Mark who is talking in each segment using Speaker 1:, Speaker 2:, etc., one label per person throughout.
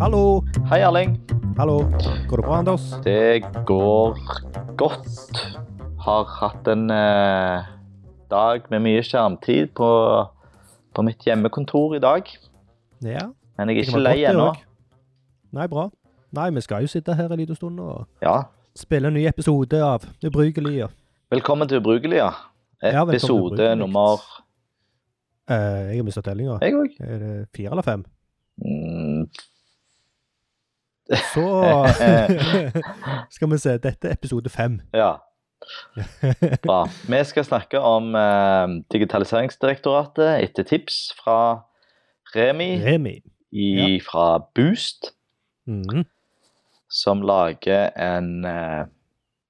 Speaker 1: Hallo!
Speaker 2: Hei, Erling.
Speaker 1: Hallo! Går det bra, Anders?
Speaker 2: Det går godt. Har hatt en eh, dag med mye skjermtid på, på mitt hjemmekontor i dag.
Speaker 1: Ja.
Speaker 2: Men jeg er
Speaker 1: det
Speaker 2: ikke
Speaker 1: var
Speaker 2: lei
Speaker 1: godt, det
Speaker 2: ennå.
Speaker 1: også. Nei, bra. Nei, vi skal jo sitte her en liten stund og
Speaker 2: Ja.
Speaker 1: spille en ny episode av Ubrukelig. og-
Speaker 2: Velkommen til Ubrukelige.
Speaker 1: Ja, velkommen til
Speaker 2: Episode
Speaker 1: Ubrukelige.
Speaker 2: nummer
Speaker 1: Eh, jeg har mista tellinga.
Speaker 2: Jeg òg.
Speaker 1: Er det fire eller fem?
Speaker 2: Mm,
Speaker 1: Så skal vi se. Dette er episode fem.
Speaker 2: ja. Bra. Vi skal snakke om eh, Digitaliseringsdirektoratet etter tips fra Remi
Speaker 1: Remi.
Speaker 2: i, fra Boost.
Speaker 1: Mhm.
Speaker 2: som lager en eh,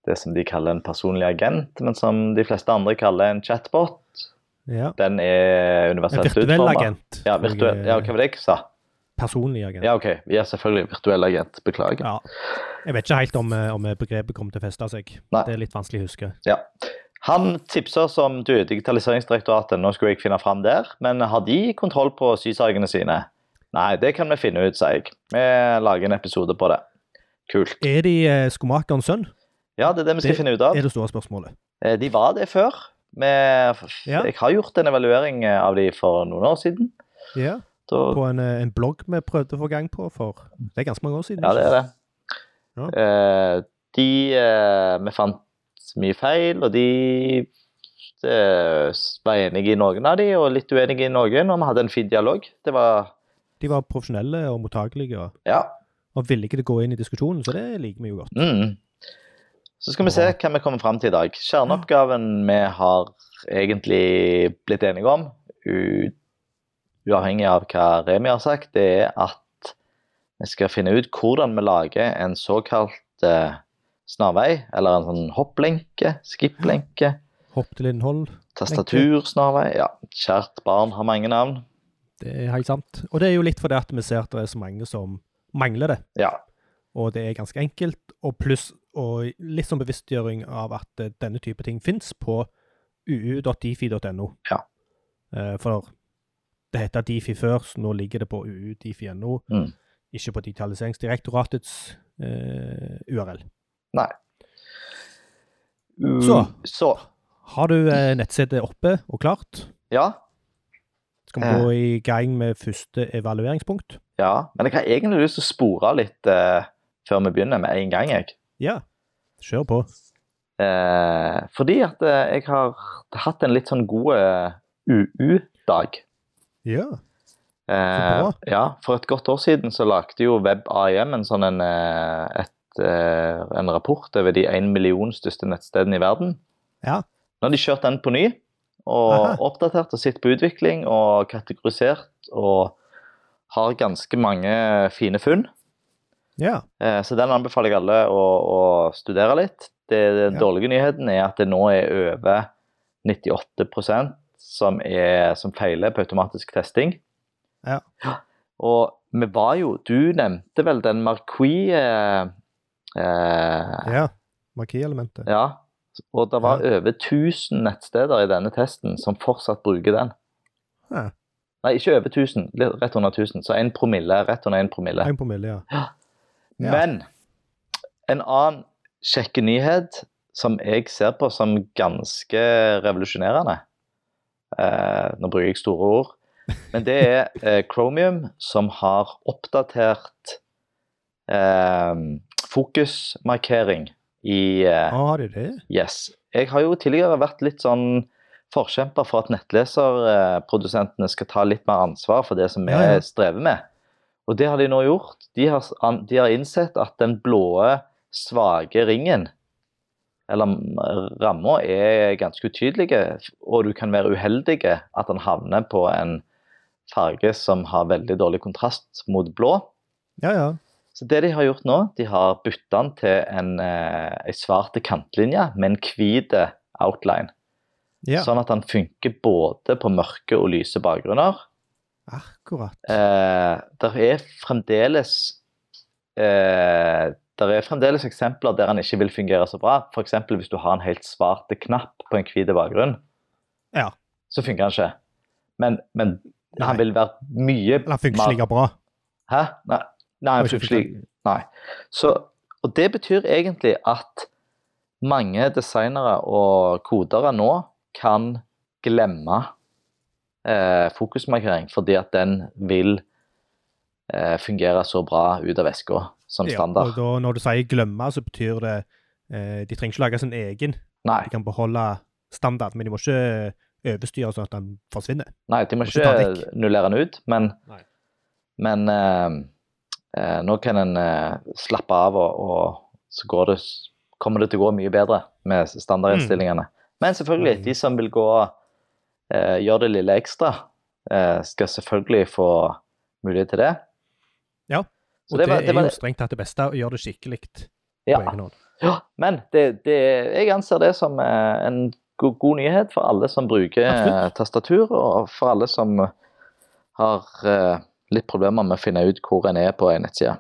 Speaker 2: det som de kaller en personlig agent, men som de fleste andre kaller en chatbot.
Speaker 1: Ja.
Speaker 2: Den er
Speaker 1: En
Speaker 2: universelt
Speaker 1: virtuell
Speaker 2: utformet.
Speaker 1: agent.
Speaker 2: Ja,
Speaker 1: tror jeg
Speaker 2: virtuell.
Speaker 1: er.
Speaker 2: ja, hva var det jeg sa?
Speaker 1: Personlig agent.
Speaker 2: Ja, ok. Ja, selvfølgelig. Virtuell agent. Beklager.
Speaker 1: Ja. Jeg vet ikke helt om, eh, om begrepet kommer til å feste seg.
Speaker 2: Nei.
Speaker 1: Det er litt vanskelig å huske.
Speaker 2: Han tipser oss om du, Digitaliseringsdirektoratet. Nå skulle jeg finne fram der, men har de kontroll på sysakene sine? Nei, det kan vi finne ut, sier jeg. Vi lager en episode på det. Kult.
Speaker 1: Er de eh, skomakerens sønn?
Speaker 2: Ja, det er det vi skal
Speaker 1: Det
Speaker 2: finne ut av.
Speaker 1: Er det store spørsmålet.
Speaker 2: Eh, De var det før. Med,
Speaker 1: Ja.
Speaker 2: Jeg har gjort en evaluering eh, av de for noen år siden.
Speaker 1: Ja.
Speaker 2: Da,
Speaker 1: på en, eh, en blogg vi prøvde å få gang på for Det er ganske mange år siden.
Speaker 2: ja, det er det.
Speaker 1: Ja.
Speaker 2: Eh, De eh, Vi fant mye feil, og de eh, s- var enige i noen av de, og litt uenige i noen, og vi hadde en fin dialog. Det var
Speaker 1: De var profesjonelle og mottagelige og,
Speaker 2: Ja.
Speaker 1: og villige til å gå inn i diskusjonen, så det liker vi jo godt.
Speaker 2: Mm. Så skal vi se hva vi kommer fram til i dag. Kjerneoppgaven vi har egentlig blitt enige om, u uavhengig av hva Remi har sagt, det er at vi skal finne ut hvordan vi lager en såkalt eh, snarvei, eller en sånn hopplenke, skipplenke,
Speaker 1: Hopp til innhold,
Speaker 2: tastatursnarvei. Ja, kjært barn har mange navn.
Speaker 1: det er helt sant. Og det er jo litt fordi at vi ser at det er så mange som mangler det.
Speaker 2: Ja.
Speaker 1: Og det er ganske enkelt, og pluss og litt sånn bevisstgjøring av at eh, denne type ting fins på uu.difi.no.
Speaker 2: Ja.
Speaker 1: Eh, For det heter Difi før, så nå ligger det på uu.difi.no,
Speaker 2: Mm.
Speaker 1: ikke på Digitaliseringsdirektoratets eh, URL. Så.
Speaker 2: Så.
Speaker 1: Har du eh, nettstedet oppe og klart?
Speaker 2: Ja.
Speaker 1: Skal vi gå i gang med første evalueringspunkt?
Speaker 2: ja. Men jeg har egentlig lyst til å spore litt eh, før vi begynner med en gang, jeg.
Speaker 1: Ja. Kjør på.
Speaker 2: Eh, fordi at eh, jeg har hatt en litt sånn god eh, UU-dag.
Speaker 1: Ja.
Speaker 2: Eh,
Speaker 1: bra.
Speaker 2: ja, for et godt år siden så lagde jo WebAIM en sånn en, eh, et, eh, en rapport over de én million største nettstedene i verden.
Speaker 1: Ja.
Speaker 2: Nå har de kjørt den på ny, og
Speaker 1: Aha.
Speaker 2: oppdatert og sett på utvikling og kategorisert, og har ganske mange fine funn.
Speaker 1: Ja.
Speaker 2: Eh, Så den anbefaler jeg alle å, å studere litt. Det,
Speaker 1: Ja.
Speaker 2: den dårlige nyheten er at det nå er over 98 som, er, som feiler på automatisk testing.
Speaker 1: Ja.
Speaker 2: Og vi var jo Du nevnte vel den Marquis eh, eh,
Speaker 1: ja. Markielementet.
Speaker 2: Ja. Og det var over 1000 nettsteder i denne testen som fortsatt bruker den.
Speaker 1: Ja.
Speaker 2: Nei, ikke over 1000, litt- rett under 1000. Så en promille, rett under en promille.
Speaker 1: En promille, ja. Ja.
Speaker 2: Men en annen kjekke nyhet som jeg ser på som ganske revolusjonerende eh, Nå bruker jeg store ord. Men det er eh, Chromium som har oppdatert eh, fokusmarkering i eh,
Speaker 1: Har de det?
Speaker 2: Yes. Jeg har jo tidligere vært litt sånn forkjemper for at nettleserprodusentene skal ta litt mer ansvar for det som vi
Speaker 1: Ja, ja.
Speaker 2: strever med. Og det har de nå gjort. De har, s- an- de har innsett at den blå, svake ringen, eller m- ramma, er ganske utydelig, og du kan være uheldig at den havner på en farge som har veldig dårlig kontrast mot blå.
Speaker 1: Ja, ja.
Speaker 2: Så det de har gjort nå, de har byttet den til en, eh, en svarte kantlinje med en hvite outline.
Speaker 1: ja.
Speaker 2: Sånn at den funker både på mørke og lyse bakgrunner.
Speaker 1: Akkurat.
Speaker 2: Eh, der er fremdeles eh, der er fremdeles eksempler der den ikke vil fungere så bra. F.eks. hvis du har en helt svart knapp på en hvit bakgrunn,
Speaker 1: Ja.
Speaker 2: så funker den ikke. Men, men
Speaker 1: Nei.
Speaker 2: den vil være mye
Speaker 1: Den funker ikke like bra.
Speaker 2: Hæ? Nei. Nei,
Speaker 1: Og ikke
Speaker 2: plutselig Nei. Så, og det betyr egentlig at mange designere og kodere nå kan glemme eh, fokusmarkering, fordi at den vil eh, fungere så bra ut av veska som standard.
Speaker 1: og da, når du sier glemme, så betyr det eh, De trenger ikke lage sin egen.
Speaker 2: Nei,
Speaker 1: De kan beholde standard, men de må ikke overstyre sånn at den forsvinner.
Speaker 2: nei, de må
Speaker 1: Må ikke ta den
Speaker 2: ikke nullere den ut, men,
Speaker 1: Nei.
Speaker 2: men eh, eh, nå kan en eh, slappe av, og, og så går det, kommer det til å gå mye bedre med standardinnstillingene. Men selvfølgelig,
Speaker 1: Mm.
Speaker 2: de som vil gå eh, gjøre det lille ekstra, eh, skal selvfølgelig få mulighet til det.
Speaker 1: Ja,
Speaker 2: Så
Speaker 1: Og det,
Speaker 2: det, var, det var
Speaker 1: er jo strengt tatt det beste, å gjøre det skikkelig
Speaker 2: ja.
Speaker 1: på egen hånd.
Speaker 2: Ja, men det, det, jeg anser det som eh, en god, god nyhet for alle som bruker eh,
Speaker 1: Absolutt.
Speaker 2: tastatur, og for alle som har eh, litt problemer med å finne ut hvor en er på en nettside.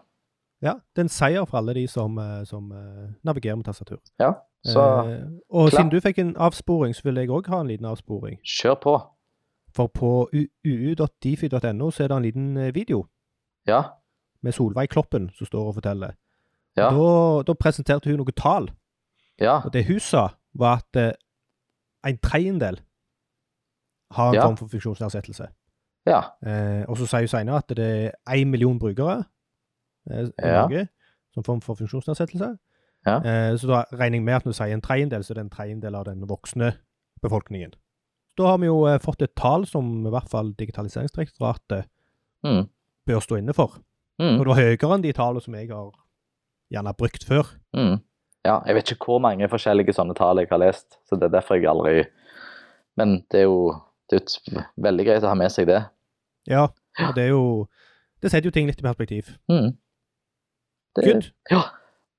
Speaker 1: Ja, det er en seier for alle de som, eh, som eh, navigerer med tastatur.
Speaker 2: Ja, så
Speaker 1: eh, og
Speaker 2: klar.
Speaker 1: siden du fikk en avsporing, så vil jeg òg ha en liten avsporing.
Speaker 2: kjør på.
Speaker 1: For på u- uu.difi.no så er det en liten eh, video
Speaker 2: Ja,
Speaker 1: med Solveig Kloppen som står og forteller.
Speaker 2: ja,
Speaker 1: Da, da presenterte hun noen tall,
Speaker 2: ja.
Speaker 1: og det hun sa, var at eh, en tredjedel har en
Speaker 2: Ja.
Speaker 1: form for funksjonsnedsettelse.
Speaker 2: ja.
Speaker 1: Eh, og så sier hun senere at det er én million brukere eh, i
Speaker 2: Ja.
Speaker 1: Norge som form for funksjonsnedsettelse.
Speaker 2: Ja.
Speaker 1: Eh, så da regner jeg med at når du sier en tredjedel, så er det en tredjedel av den voksne befolkningen. Da har vi jo eh, fått et tall som i hvert fall Digitaliseringsdirektoratet
Speaker 2: Mm,
Speaker 1: bør stå inne for. Og
Speaker 2: mm,
Speaker 1: det var høyere enn de tallene som jeg har gjerne brukt før.
Speaker 2: mm. ja. Jeg vet ikke hvor mange forskjellige sånne tall jeg har lest, så det er derfor jeg aldri Men det er jo det er jo et- veldig greit å ha med seg det.
Speaker 1: Ja, og det er jo Det setter jo ting litt i perspektiv.
Speaker 2: Mm. Det-
Speaker 1: Good.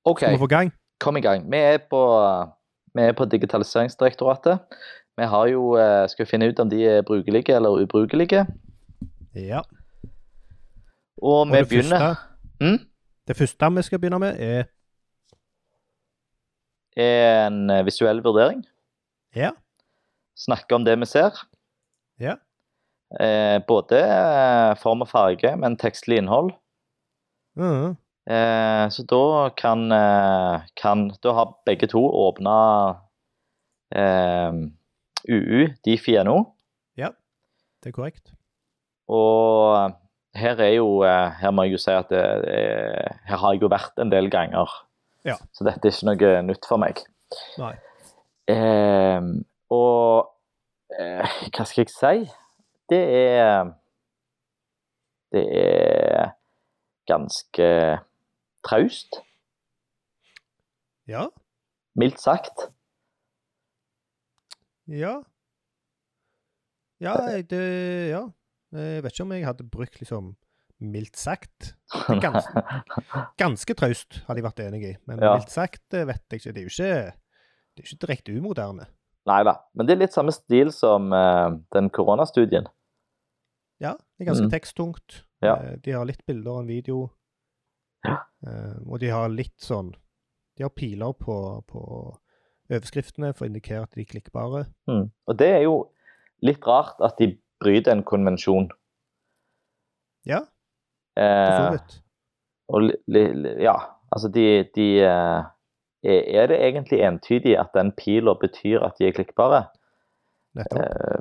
Speaker 2: OK.
Speaker 1: Skal vi få gang?
Speaker 2: kom i gang. Vi er på, vi er på Digitaliseringsdirektoratet. Vi har jo, eh, skal finne ut om de er brukelige eller ubrukelige.
Speaker 1: Ja.
Speaker 2: Og vi
Speaker 1: det
Speaker 2: begynner
Speaker 1: første,
Speaker 2: Mm?
Speaker 1: det første vi skal begynne med, er
Speaker 2: en eh, visuell vurdering.
Speaker 1: Ja.
Speaker 2: Snakke om det vi ser.
Speaker 1: Ja.
Speaker 2: Eh, både eh, form og farge, men tekstlig innhold.
Speaker 1: Mhm.
Speaker 2: Eh, så da kan, eh, kan Da har begge to åpna eh, UU, Difi.no.
Speaker 1: Det er korrekt.
Speaker 2: Og her er jo eh, Her må jeg jo si at det, er- her har jeg jo vært en del ganger.
Speaker 1: Ja.
Speaker 2: Så dette er ikke noe nytt for meg.
Speaker 1: Nei.
Speaker 2: Eh, og eh, hva skal jeg si? Det er Det er ganske traust,
Speaker 1: Ja.
Speaker 2: mildt sagt.
Speaker 1: Ja. Ja, jeg- det Ja. Jeg vet ikke om jeg hadde brukt liksom mildt sagt. Ganske, ganske traust hadde jeg vært enig i, men
Speaker 2: Ja.
Speaker 1: mildt sagt det vet jeg ikke. Det er jo ikke, det er jo ikke direkte umoderne.
Speaker 2: Nei da. Men det er litt samme stil som eh, den koronastudien.
Speaker 1: Ja, det er ganske
Speaker 2: Mm.
Speaker 1: teksttungt.
Speaker 2: Ja.
Speaker 1: Eh, De har litt bilder og en video.
Speaker 2: Ja.
Speaker 1: Eh, Og de har litt sånn De har piler på, på overskriftene for å indikere at de er klikkbare.
Speaker 2: Mm. Og det er jo litt rart at de bryter en konvensjon.
Speaker 1: Ja, for så
Speaker 2: Eh,
Speaker 1: vidt.
Speaker 2: og li, li, li- ja, altså de, de eh, er, er det egentlig entydig at den pila betyr at de er klikkbare?
Speaker 1: Nettopp.
Speaker 2: Eh,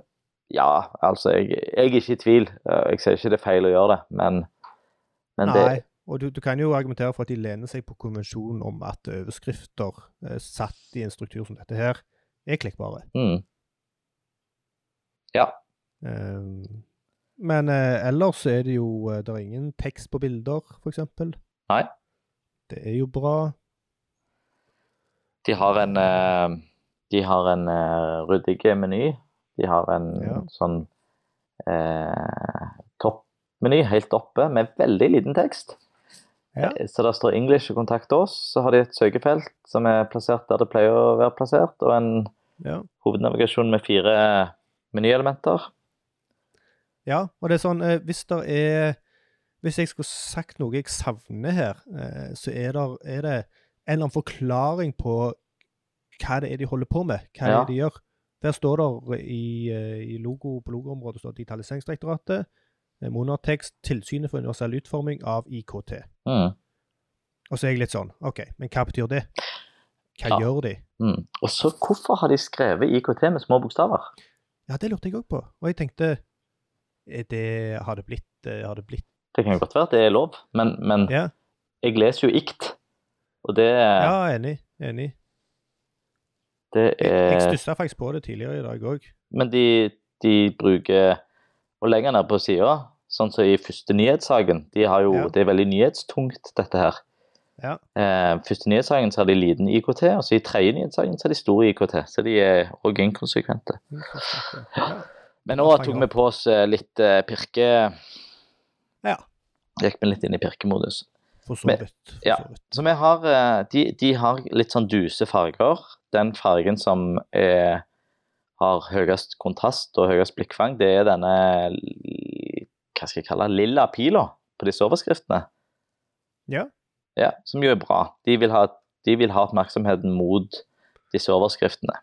Speaker 2: ja, altså jeg, jeg er ikke i tvil. Eh, Jeg ser ikke det er feil å gjøre det, men, men det
Speaker 1: Nei. Og du, du kan jo argumentere for at de lener seg på konvensjonen om at overskrifter eh, satt i en struktur som dette her, er klikkbare.
Speaker 2: mm,
Speaker 1: Eh, men eh, ellers er det jo eh, Det er ingen tekst på bilder, f.eks.
Speaker 2: Nei.
Speaker 1: Det er jo bra.
Speaker 2: De har en eh, De har en eh, ryddig meny. De har en
Speaker 1: Ja.
Speaker 2: sånn eh, toppmeny helt oppe med veldig liten tekst.
Speaker 1: Ja.
Speaker 2: Eh, Så der står 'English og kontakt oss'. Så har de et søkefelt som er plassert der det pleier å være plassert, og en
Speaker 1: Ja.
Speaker 2: hovednavigasjon med fire eh, menyelementer.
Speaker 1: Ja, og det er sånn eh, Hvis der er Hvis jeg skulle sagt noe jeg savner her, eh, så er, der, er det en eller annen forklaring på hva det er de holder på med, hva det
Speaker 2: Ja.
Speaker 1: er de gjør. Der står det i, eh, i logo, på logoområdet står Digitaliseringsdirektoratet. Monotekst, Tilsynet for universell utforming av IKT.
Speaker 2: Mm.
Speaker 1: Og så er jeg litt sånn OK, men hva betyr det? Hva
Speaker 2: Ja.
Speaker 1: gjør de?
Speaker 2: Mm. Og så hvorfor har de skrevet IKT med små bokstaver?
Speaker 1: Ja, det lurte jeg òg på. Og jeg tenkte er det, Har det blitt eh, Har det blitt
Speaker 2: Det kan jo godt være at det er lov, men, men
Speaker 1: Ja,
Speaker 2: jeg leser jo IKT, og det,
Speaker 1: ja enig. Enig.
Speaker 2: det
Speaker 1: Jeg, jeg
Speaker 2: er
Speaker 1: stussa faktisk på det tidligere i dag òg.
Speaker 2: Men de, de bruker Og lenger ned på sida, sånn som i første nyhetssaken de har jo,
Speaker 1: Ja.
Speaker 2: Det er veldig nyhetstungt, dette her.
Speaker 1: Ja.
Speaker 2: Eh, første nyhetssaken så har de liten IKT, og så i tredje nyhetssaken så har de stor IKT. Så de er òg inkonsekvente.
Speaker 1: Ja.
Speaker 2: Men nå tok vi på oss eh, litt eh, pirke...
Speaker 1: Ja.
Speaker 2: Gikk vi litt inn i pirkemodus.
Speaker 1: For så
Speaker 2: Men-
Speaker 1: vidt. For
Speaker 2: ja.
Speaker 1: så vidt.
Speaker 2: Så vi har eh, de, de har litt sånn duse farger. Den fargen som er, har høyest kontrast og høyest blikkfang, det er denne l- Hva skal jeg kalle det? Lilla pila på disse overskriftene.
Speaker 1: Ja.
Speaker 2: Ja, Som jo er bra. De vil ha, de vil ha oppmerksomheten mot disse overskriftene.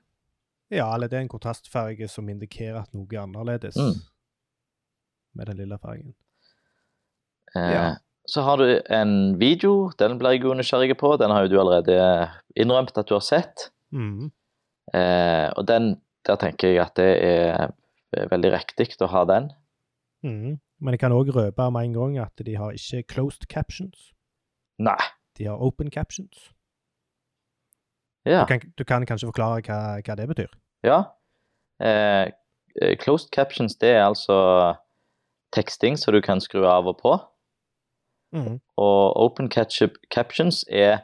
Speaker 1: Ja, eller det er en kontrastfarge som indikerer at noe er annerledes
Speaker 2: Mm.
Speaker 1: med den lilla fargen.
Speaker 2: Eh,
Speaker 1: Ja.
Speaker 2: Så har du en video. Den blir jeg jo nysgjerrig på. Den har jo du allerede innrømt at du har sett.
Speaker 1: Mhm.
Speaker 2: Eh, og den, der tenker jeg at det er veldig riktig å ha den.
Speaker 1: Mhm. Men jeg kan òg røpe med en gang at de har ikke closed captions.
Speaker 2: Nei.
Speaker 1: De har open captions.
Speaker 2: Ja.
Speaker 1: Du, kan, du kan kanskje forklare hva, hva det betyr?
Speaker 2: ja. Eh, eh, closed captions, det er altså teksting som du kan skru av og på.
Speaker 1: Mhm.
Speaker 2: Og open catch- captions er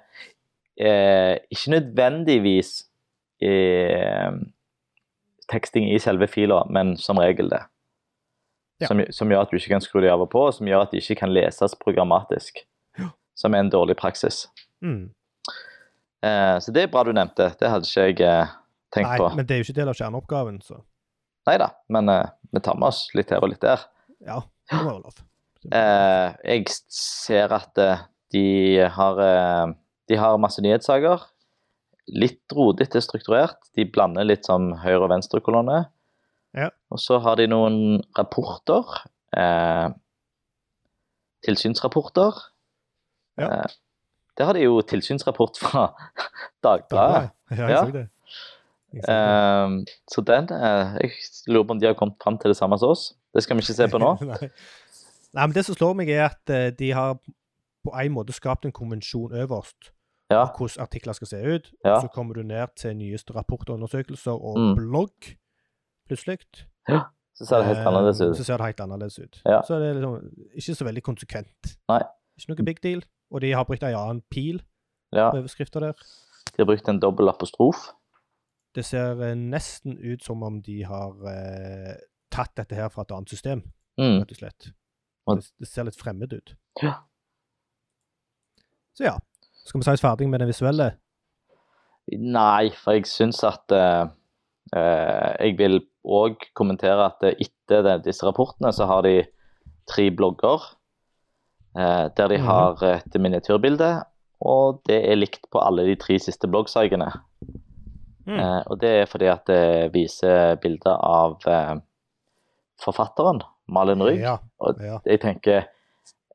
Speaker 2: eh, ikke nødvendigvis eh, teksting i selve fila, men som regel det.
Speaker 1: Ja.
Speaker 2: Som, som gjør at du ikke kan skru de av og på, og som gjør at de ikke kan leses programmatisk.
Speaker 1: Ja.
Speaker 2: Som er en dårlig praksis.
Speaker 1: Mhm.
Speaker 2: Eh, så det er bra du nevnte. Det hadde ikke jeg eh, tenkt
Speaker 1: Nei,
Speaker 2: på.
Speaker 1: men det er jo ikke del av kjerneoppgaven, så
Speaker 2: Nei da, men eh, vi tar med oss litt her og litt der.
Speaker 1: ja, det må være lov.
Speaker 2: Eh, jeg s- ser at eh, de har eh, De har masse nyhetssaker. Litt rodete strukturert. De blander litt som høyre- og venstrekolonne.
Speaker 1: Ja.
Speaker 2: Og så har de noen rapporter. Eh, tilsynsrapporter.
Speaker 1: Ja.
Speaker 2: Eh, der har de jo tilsynsrapport fra Dagbladet.
Speaker 1: Dagbladet. Ja,
Speaker 2: Ja.
Speaker 1: jeg så det. Jeg så det.
Speaker 2: Ehm, så den eh, Jeg lurer på om de har kommet fram til det samme som oss. Det skal vi ikke se på nå.
Speaker 1: Nei. Nei, men det som slår meg, er at eh, de har på en måte skapt en konvensjon øverst.
Speaker 2: Ja.
Speaker 1: om Hvordan artikler skal se ut.
Speaker 2: Ja.
Speaker 1: og Så kommer du ned til nyeste rapport og undersøkelser og
Speaker 2: Mm.
Speaker 1: blogg, plutselig.
Speaker 2: Så ser det helt
Speaker 1: Eh,
Speaker 2: annerledes ut.
Speaker 1: Så ser det helt annerledes ut.
Speaker 2: Ja.
Speaker 1: Så det er liksom ikke så veldig konsekvent.
Speaker 2: Nei.
Speaker 1: Ikke noe big deal. Og de har brukt en annen pil
Speaker 2: Ja,
Speaker 1: på overskrifta der.
Speaker 2: De har brukt en dobbel apostrof.
Speaker 1: Det ser eh, nesten ut som om de har eh, tatt dette her fra et annet system,
Speaker 2: Mm.
Speaker 1: rett og slett.
Speaker 2: Og-
Speaker 1: Det, det ser litt fremmed ut.
Speaker 2: Ja.
Speaker 1: Så ja. Skal vi si oss ferdig med det visuelle?
Speaker 2: Nei, for jeg syns at eh, eh, Jeg vil òg kommentere at eh, etter det, disse rapportene så har de tre blogger eh, der de
Speaker 1: Mhm.
Speaker 2: har et miniatyrbilde, og det er likt på alle de tre siste bloggsakene.
Speaker 1: Mm.
Speaker 2: Eh, og det er fordi at det viser bilder av eh, forfatteren, Malin Rygg.
Speaker 1: Ja.
Speaker 2: Og-
Speaker 1: ja.
Speaker 2: Jeg tenker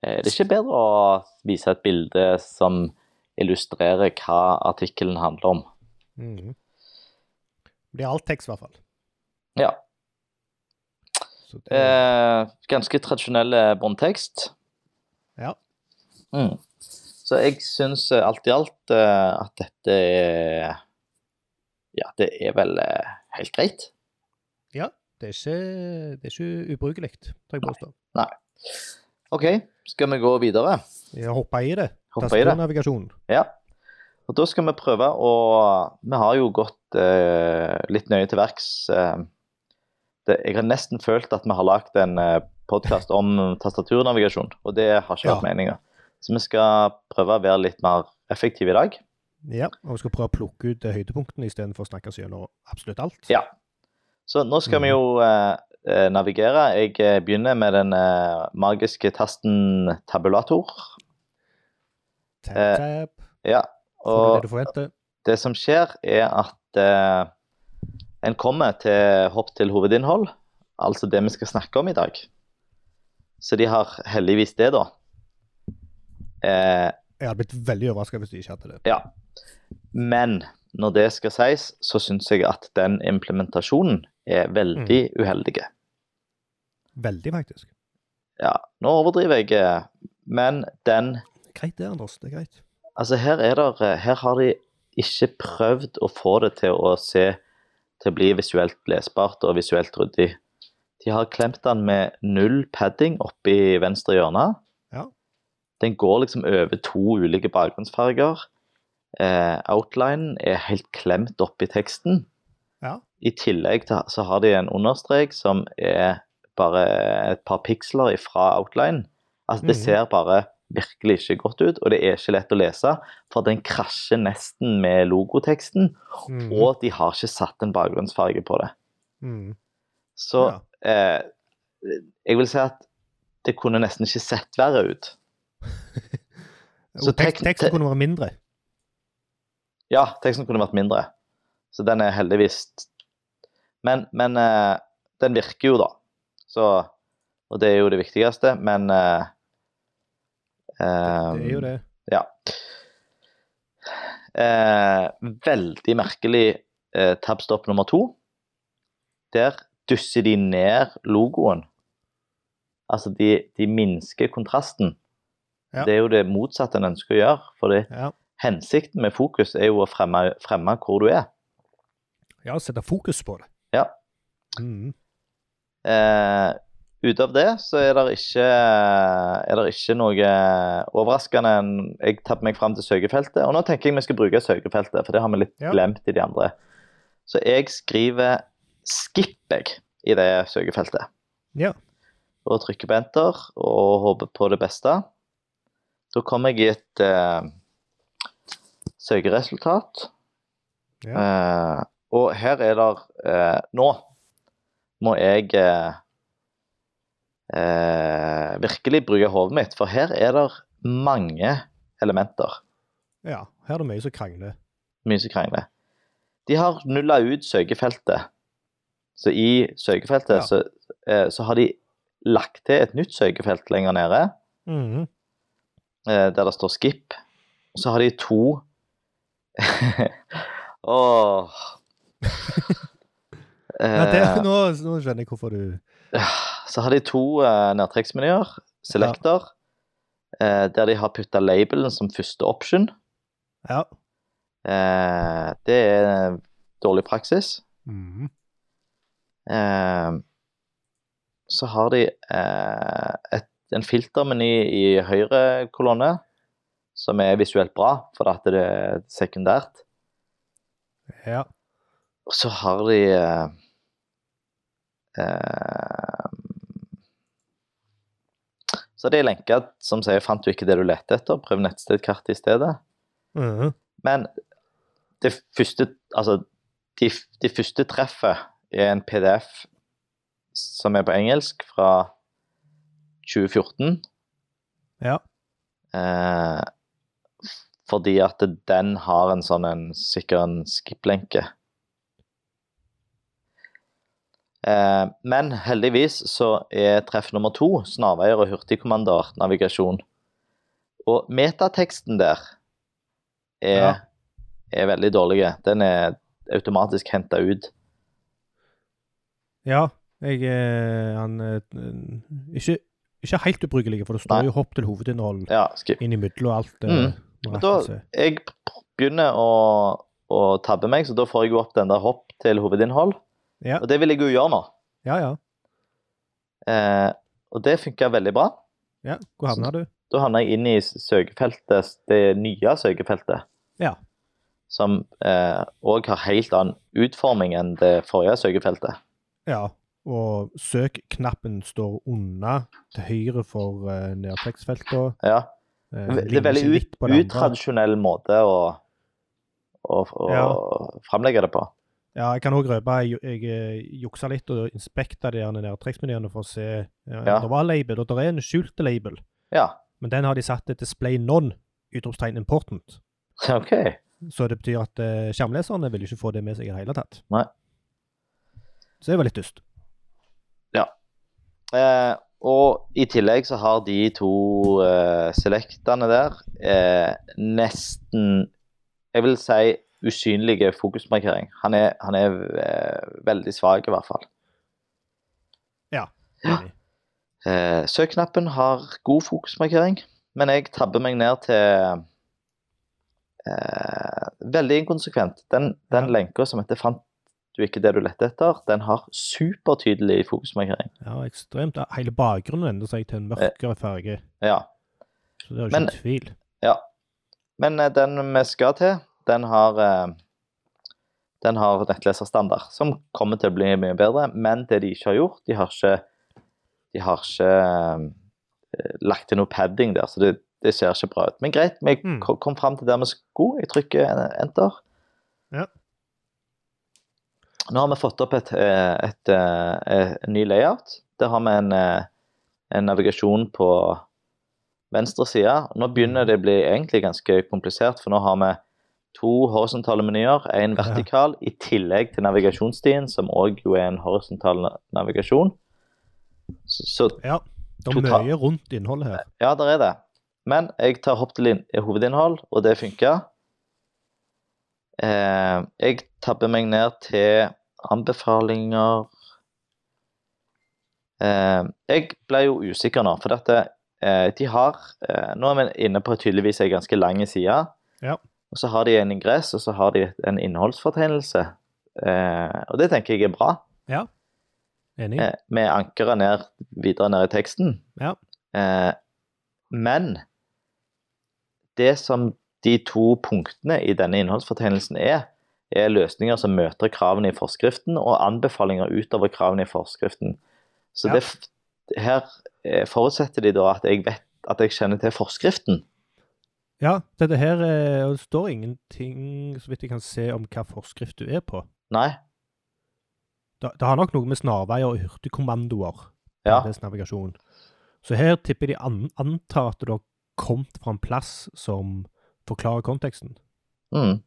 Speaker 2: eh, det er ikke bedre å vise et bilde som illustrerer hva artikkelen handler om.
Speaker 1: Mhm. Det er alt tekst, i hvert fall.
Speaker 2: Ja.
Speaker 1: Så det,
Speaker 2: Eh, ganske tradisjonell båndtekst.
Speaker 1: Ja.
Speaker 2: Mm. Så jeg syns eh, alt i alt eh, at dette er Ja, det er vel eh, helt greit.
Speaker 1: det, er ikke, det er ikke ubrukelig, tør jeg påstå.
Speaker 2: OK, skal vi gå videre?
Speaker 1: Jeg hopper i det.
Speaker 2: Hoppe i det.
Speaker 1: Tastaturnavigasjon.
Speaker 2: Ja. Og da skal vi prøve å Vi har jo gått eh, litt nøye til verks. Eh, det, jeg har nesten følt at vi har lagd en eh, podkast om tastaturnavigasjon, og det har ikke
Speaker 1: Ja.
Speaker 2: vært meninga. Så vi skal prøve å være litt mer effektive i dag.
Speaker 1: Ja, og vi skal prøve å plukke ut eh, høydepunktene istedenfor å snakke oss gjennom absolutt alt.
Speaker 2: Ja. Så nå skal
Speaker 1: Mhm.
Speaker 2: vi jo eh, eh, navigere. Jeg eh, begynner med den eh, magiske tasten tabulator.
Speaker 1: Tab,
Speaker 2: Eh,
Speaker 1: tab,
Speaker 2: Ja.
Speaker 1: får du det du forventer.
Speaker 2: det som skjer, er at eh, en kommer til hopp til hovedinnhold, altså det vi skal snakke om i dag. Så de har heldigvis det, da. Eh,
Speaker 1: Jeg hadde blitt veldig overraska hvis de ikke hadde det.
Speaker 2: ja. Men når det skal sies, så syns jeg at den implementasjonen er veldig uheldig.
Speaker 1: Veldig, faktisk.
Speaker 2: Ja, nå overdriver jeg, eh, men den
Speaker 1: Greit det, Anders. Det er greit.
Speaker 2: Altså, her, er der, her har de ikke prøvd å få det til å se til å bli visuelt lesbart og visuelt ryddig. De har klemt den med null padding oppi venstre hjørne.
Speaker 1: Ja.
Speaker 2: Den går liksom over to ulike bakgrunnsfarger. Eh, outlinen er helt klemt oppi teksten.
Speaker 1: Ja.
Speaker 2: I tillegg til, så har de en understrek som er bare et par piksler ifra outline. Altså, det
Speaker 1: Mhm.
Speaker 2: ser bare virkelig ikke godt ut, og det er ikke lett å lese, for den krasjer nesten med logoteksten,
Speaker 1: Mm.
Speaker 2: og de har ikke satt en bakgrunnsfarge på det.
Speaker 1: Mm.
Speaker 2: Så
Speaker 1: Ja.
Speaker 2: eh, jeg vil si at det kunne nesten ikke sett verre ut.
Speaker 1: Så
Speaker 2: så
Speaker 1: tek
Speaker 2: tek-
Speaker 1: teksten
Speaker 2: te-
Speaker 1: kunne vært mindre.
Speaker 2: Ja, teksten kunne vært mindre, så den er heldigvis Men, men eh, den virker jo, da. Så Og det er jo det viktigste, men eh,
Speaker 1: Det er jo
Speaker 2: ehm,
Speaker 1: det.
Speaker 2: Ja. Eh, veldig merkelig eh, tabstopp nummer to. Der dusser de ned logoen. Altså, de, de minsker kontrasten.
Speaker 1: Ja.
Speaker 2: Det er jo det motsatte en ønsker å gjøre. For
Speaker 1: Ja.
Speaker 2: hensikten med fokus er jo å fremme, fremme hvor du er.
Speaker 1: ja, sette fokus på det.
Speaker 2: Ja.
Speaker 1: Mm.
Speaker 2: Eh, ut av det så er det ikke, er det ikke noe overraskende. Jeg tabber meg fram til søkefeltet, og nå tenker jeg vi skal bruke søkefeltet, for det har vi litt
Speaker 1: Ja.
Speaker 2: glemt i de andre. Så jeg skriver 'skip' jeg i det søkefeltet.
Speaker 1: Ja.
Speaker 2: Og trykker på enter og håper på det beste. Da kommer jeg i et eh, søkeresultat. Eh, og her er det eh, Nå må jeg eh, eh, virkelig bruke hodet mitt, for her er det mange elementer.
Speaker 1: ja. Her er det mye som krangler.
Speaker 2: Mye som krangler. De har nulla ut søkefeltet. Så i søkefeltet
Speaker 1: Ja.
Speaker 2: så, eh, så har de lagt til et nytt søkefelt lenger nede,
Speaker 1: Mm.
Speaker 2: eh, der det står 'skip'. Så har de to Åh
Speaker 1: Ja, det,
Speaker 2: Eh,
Speaker 1: nå, nå skjønner jeg hvorfor du
Speaker 2: Så har de to eh, nedtrekksmenyer, selector, eh, der de har putta labelen som første option.
Speaker 1: Ja.
Speaker 2: Eh, det er dårlig praksis.
Speaker 1: Mm.
Speaker 2: Eh, så har de eh, et, en filtermeny i høyre kolonne, som er visuelt bra, for at det er sekundært.
Speaker 1: Ja.
Speaker 2: Og så har de eh, eh, Så det er lenker som sier 'fant du ikke det du lette etter, prøv nettstedkartet i stedet'.
Speaker 1: Mm.
Speaker 2: Men det første Altså, de, de første treffet er en PDF som er på engelsk, fra 2014.
Speaker 1: Ja.
Speaker 2: Eh, fordi at den har en sånn en sikker en skip-lenke. Eh, men heldigvis så er treff nummer to snarveier og hurtigkommandoer navigasjon. Og metateksten der er,
Speaker 1: Ja.
Speaker 2: er veldig dårlig. Den er automatisk henta ut.
Speaker 1: ja. Jeg eh, Han eh, Ikke, ikke helt ubrukelig, for det står
Speaker 2: Nei.
Speaker 1: jo hopp til hovedinnhold
Speaker 2: Ja, skip.
Speaker 1: innimellom og alt.
Speaker 2: Mm.
Speaker 1: Mm.
Speaker 2: Og da- Jeg begynner å, å tabbe meg, så da får jeg jo opp den der hopp til hovedinnhold.
Speaker 1: Ja.
Speaker 2: Og det vil jeg jo gjøre nå.
Speaker 1: Ja, ja.
Speaker 2: Eh, og det funka veldig bra.
Speaker 1: ja. Hvor havna du?
Speaker 2: Da havna jeg inn i søkefeltet, det nye søkefeltet.
Speaker 1: Ja.
Speaker 2: Som òg har helt annen utforming enn det forrige søkefeltet.
Speaker 1: Ja. Og søk-knappen står unna til høyre for uh, nedtrekksfeltene.
Speaker 2: Ja.
Speaker 1: Eh,
Speaker 2: Det
Speaker 1: ligner
Speaker 2: er veldig
Speaker 1: ikke
Speaker 2: ut,
Speaker 1: litt på det andre.
Speaker 2: utradisjonell måte å, å, å framlegge det på.
Speaker 1: Ja, jeg kan òg røpe jeg, jeg eh, juksa litt og inspekta de her nedtrekksmenyene for å se ja,
Speaker 2: Ja.
Speaker 1: Det var label, og det er en skjult label,
Speaker 2: Ja,
Speaker 1: men den har de satt til display non, utropstegn important.
Speaker 2: OK.
Speaker 1: Så det betyr at eh, skjermleserne vil ikke få det med seg i det hele tatt.
Speaker 2: Nei.
Speaker 1: Så det var litt dust.
Speaker 2: Eh, Og i tillegg så har de to eh, selektene der eh, nesten Jeg vil si usynlige fokusmarkering. Han er, han er eh, veldig svak, i hvert fall.
Speaker 1: Enig.
Speaker 2: Eh, søknappen har god fokusmarkering, men jeg tabber meg ned til eh, Veldig inkonsekvent. Den, den
Speaker 1: Ja.
Speaker 2: lenka som heter 'Fant du ikke det du lette etter', den har supertydelig fokusmarkering.
Speaker 1: Ja, ekstremt. Ja, Hele bakgrunnen endrer seg til en mørkere farge.
Speaker 2: Ja.
Speaker 1: Så det er jo ikke
Speaker 2: Eh. Men-
Speaker 1: noen tvil.
Speaker 2: Men eh, den vi skal til, den har eh, den har nettleserstandard, som kommer til å bli mye bedre. Men det de ikke har gjort, de har ikke, de har ikke eh, lagt til noe padding der, så det, det ser ikke bra ut. Men greit, vi
Speaker 1: Mm.
Speaker 2: ko- kom fram til der vi skulle. Jeg trykker en- enter.
Speaker 1: Ja.
Speaker 2: Nå har vi fått opp et, eh, et, eh, eh, en ny layout. Der har vi en, eh, en navigasjon på venstre side. Nå begynner det å bli egentlig ganske komplisert, for nå har vi to horisontale menyer, én vertikal, i tillegg til navigasjonsstien, som òg jo er en horisontal na- navigasjon. Så, så
Speaker 1: Ja. Det er
Speaker 2: Total-
Speaker 1: mye rundt innholdet her.
Speaker 2: ja, der er det. Men jeg tar hopp til inn- hovedinnhold, og det funker. Eh, jeg tabber meg ned til anbefalinger eh, Jeg ble jo usikker nå, for dette eh, De har eh, Nå er vi inne på tydeligvis en ganske lang side.
Speaker 1: Ja.
Speaker 2: Og så har de en ingress, og så har de en innholdsfortegnelse. Eh, og det tenker jeg er bra
Speaker 1: Enig?
Speaker 2: eh, med ankeret ned, videre ned i teksten.
Speaker 1: Ja.
Speaker 2: Eh, men det som de to punktene i denne innholdsfortegnelsen er, er løsninger som møter kravene i forskriften, og anbefalinger utover kravene i forskriften. Så
Speaker 1: Ja.
Speaker 2: det, f- her eh, forutsetter de da at jeg vet at jeg kjenner til forskriften.
Speaker 1: Ja, dette her eh, og Det står ingenting, så vidt jeg kan se, om hva forskrift du er på.
Speaker 2: Nei.
Speaker 1: Det, det har nok noe med snarveier og hurtigkommandoer
Speaker 2: Ja.
Speaker 1: deres navigasjon. Så her tipper de an, antar at du har kommet fra en plass som forklarer konteksten,
Speaker 2: Mm.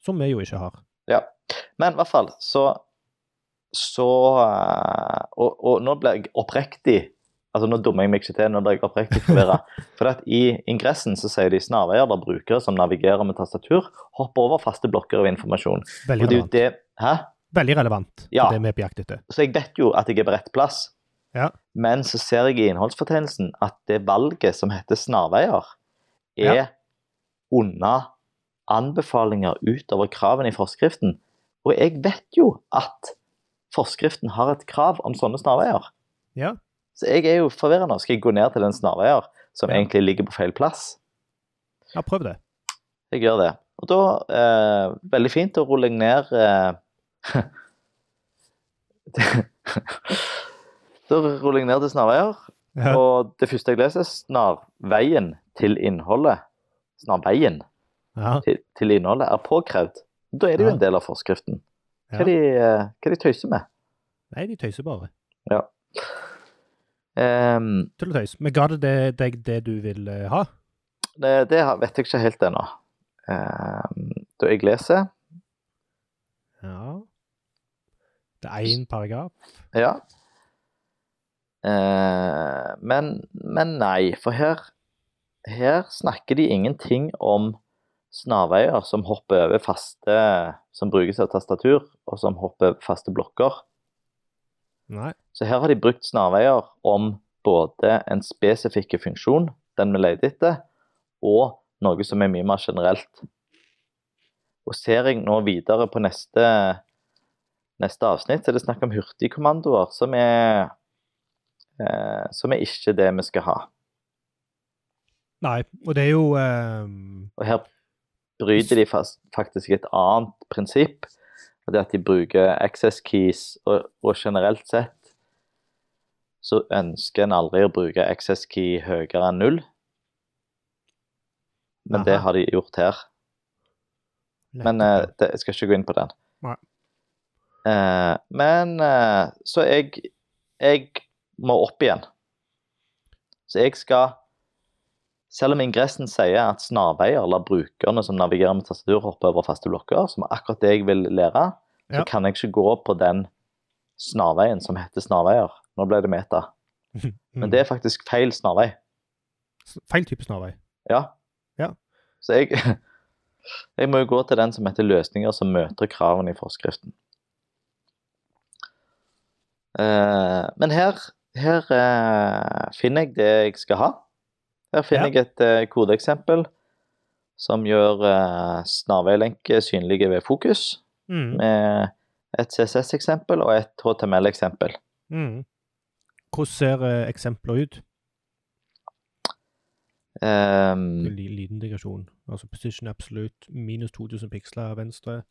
Speaker 1: som vi jo ikke har.
Speaker 2: Men i hvert fall, så Så eh, Og, og nå ble jeg oppriktig Altså, nå dummer jeg meg ikke til, nå ble jeg oppriktig forvirra. For at i ingressen så sier de snarveier der brukere som navigerer med tastatur, hopper over faste blokker av informasjon. Og
Speaker 1: Veldig
Speaker 2: det er jo
Speaker 1: relevant.
Speaker 2: det Hæ?
Speaker 1: Veldig relevant
Speaker 2: Ja.
Speaker 1: for det vi er på jakt etter.
Speaker 2: Så jeg vet jo at jeg er på rett plass.
Speaker 1: Ja.
Speaker 2: Men så ser jeg i innholdsfortegnelsen at det valget som heter snarveier, er unna anbefalinger utover kravene i forskriften. Og jeg vet jo at forskriften har et krav om sånne snarveier.
Speaker 1: Ja.
Speaker 2: Så jeg er jo forvirra nå. Skal jeg gå ned til den snarveier som
Speaker 1: Ja.
Speaker 2: egentlig ligger på feil plass?
Speaker 1: Ja, prøv det.
Speaker 2: Jeg gjør det. Og da eh, Veldig fint å rulle jeg ned eh, Da ruller jeg ned til snarveier,
Speaker 1: Ja.
Speaker 2: og det første jeg leser, er snarveien til innholdet. Snarveien
Speaker 1: Ja.
Speaker 2: til, til innholdet er påkrevd. Da er det jo
Speaker 1: Ja.
Speaker 2: en del av forskriften. Hva
Speaker 1: Ja.
Speaker 2: er de, eh, hva er de tøyser med?
Speaker 1: Nei, de tøyser bare.
Speaker 2: Ehm,
Speaker 1: Tull og tøys. Men ga det det- deg det du vil eh, ha?
Speaker 2: det, det har- vet jeg ikke helt ennå. Ehm, da jeg leser
Speaker 1: Ja. Det er én paragraf.
Speaker 2: Ja. Eh, men, men nei, for her, her snakker de ingenting om snarveier som hopper over faste Som brukes av tastatur, og som hopper over faste blokker.
Speaker 1: Nei.
Speaker 2: Så her har de brukt snarveier om både en spesifikk funksjon, den vi leter etter, og noe som er mye mer generelt. Og ser jeg nå videre på neste, neste avsnitt, så er det snakk om hurtigkommandoer, som er eh, som er ikke det vi skal ha.
Speaker 1: Nei. Og det er jo ehm,
Speaker 2: Og her bryter de fast, faktisk et annet prinsipp. Og det er at de bruker access keys, og, og generelt sett så ønsker en aldri å bruke access key høyere enn null. Men det
Speaker 1: Aha.
Speaker 2: har de gjort her. Men eh,
Speaker 1: nettopp.
Speaker 2: det, jeg skal ikke gå inn på den.
Speaker 1: Nei.
Speaker 2: Eh, men eh, Så jeg, jeg må opp igjen. Så jeg skal Selv om ingressen sier at snarveier lar brukerne som navigerer med tastatur, hoppe over faste blokker, som er akkurat det jeg vil lære, så
Speaker 1: Ja.
Speaker 2: kan jeg ikke gå på den snarveien som heter snarveier. Nå ble det meta. Men det er faktisk feil snarvei.
Speaker 1: Mm. Feil type snarvei.
Speaker 2: Ja.
Speaker 1: Ja.
Speaker 2: Så jeg, jeg må jo gå til den som heter løsninger som møter kravene i forskriften. Eh, men her, her eh, finner jeg det jeg skal ha. Her finner
Speaker 1: Ja.
Speaker 2: jeg et eh, kodeeksempel som gjør eh, snarveilenker synlige ved fokus,
Speaker 1: Mm.
Speaker 2: med et CSS-eksempel og et HTML-eksempel.
Speaker 1: Mm. Hvordan ser eh, eksempler ut?
Speaker 2: Ehm, Mm.
Speaker 1: En li- liten digresjon. Altså position absolute, minus 2000 piksler venstre.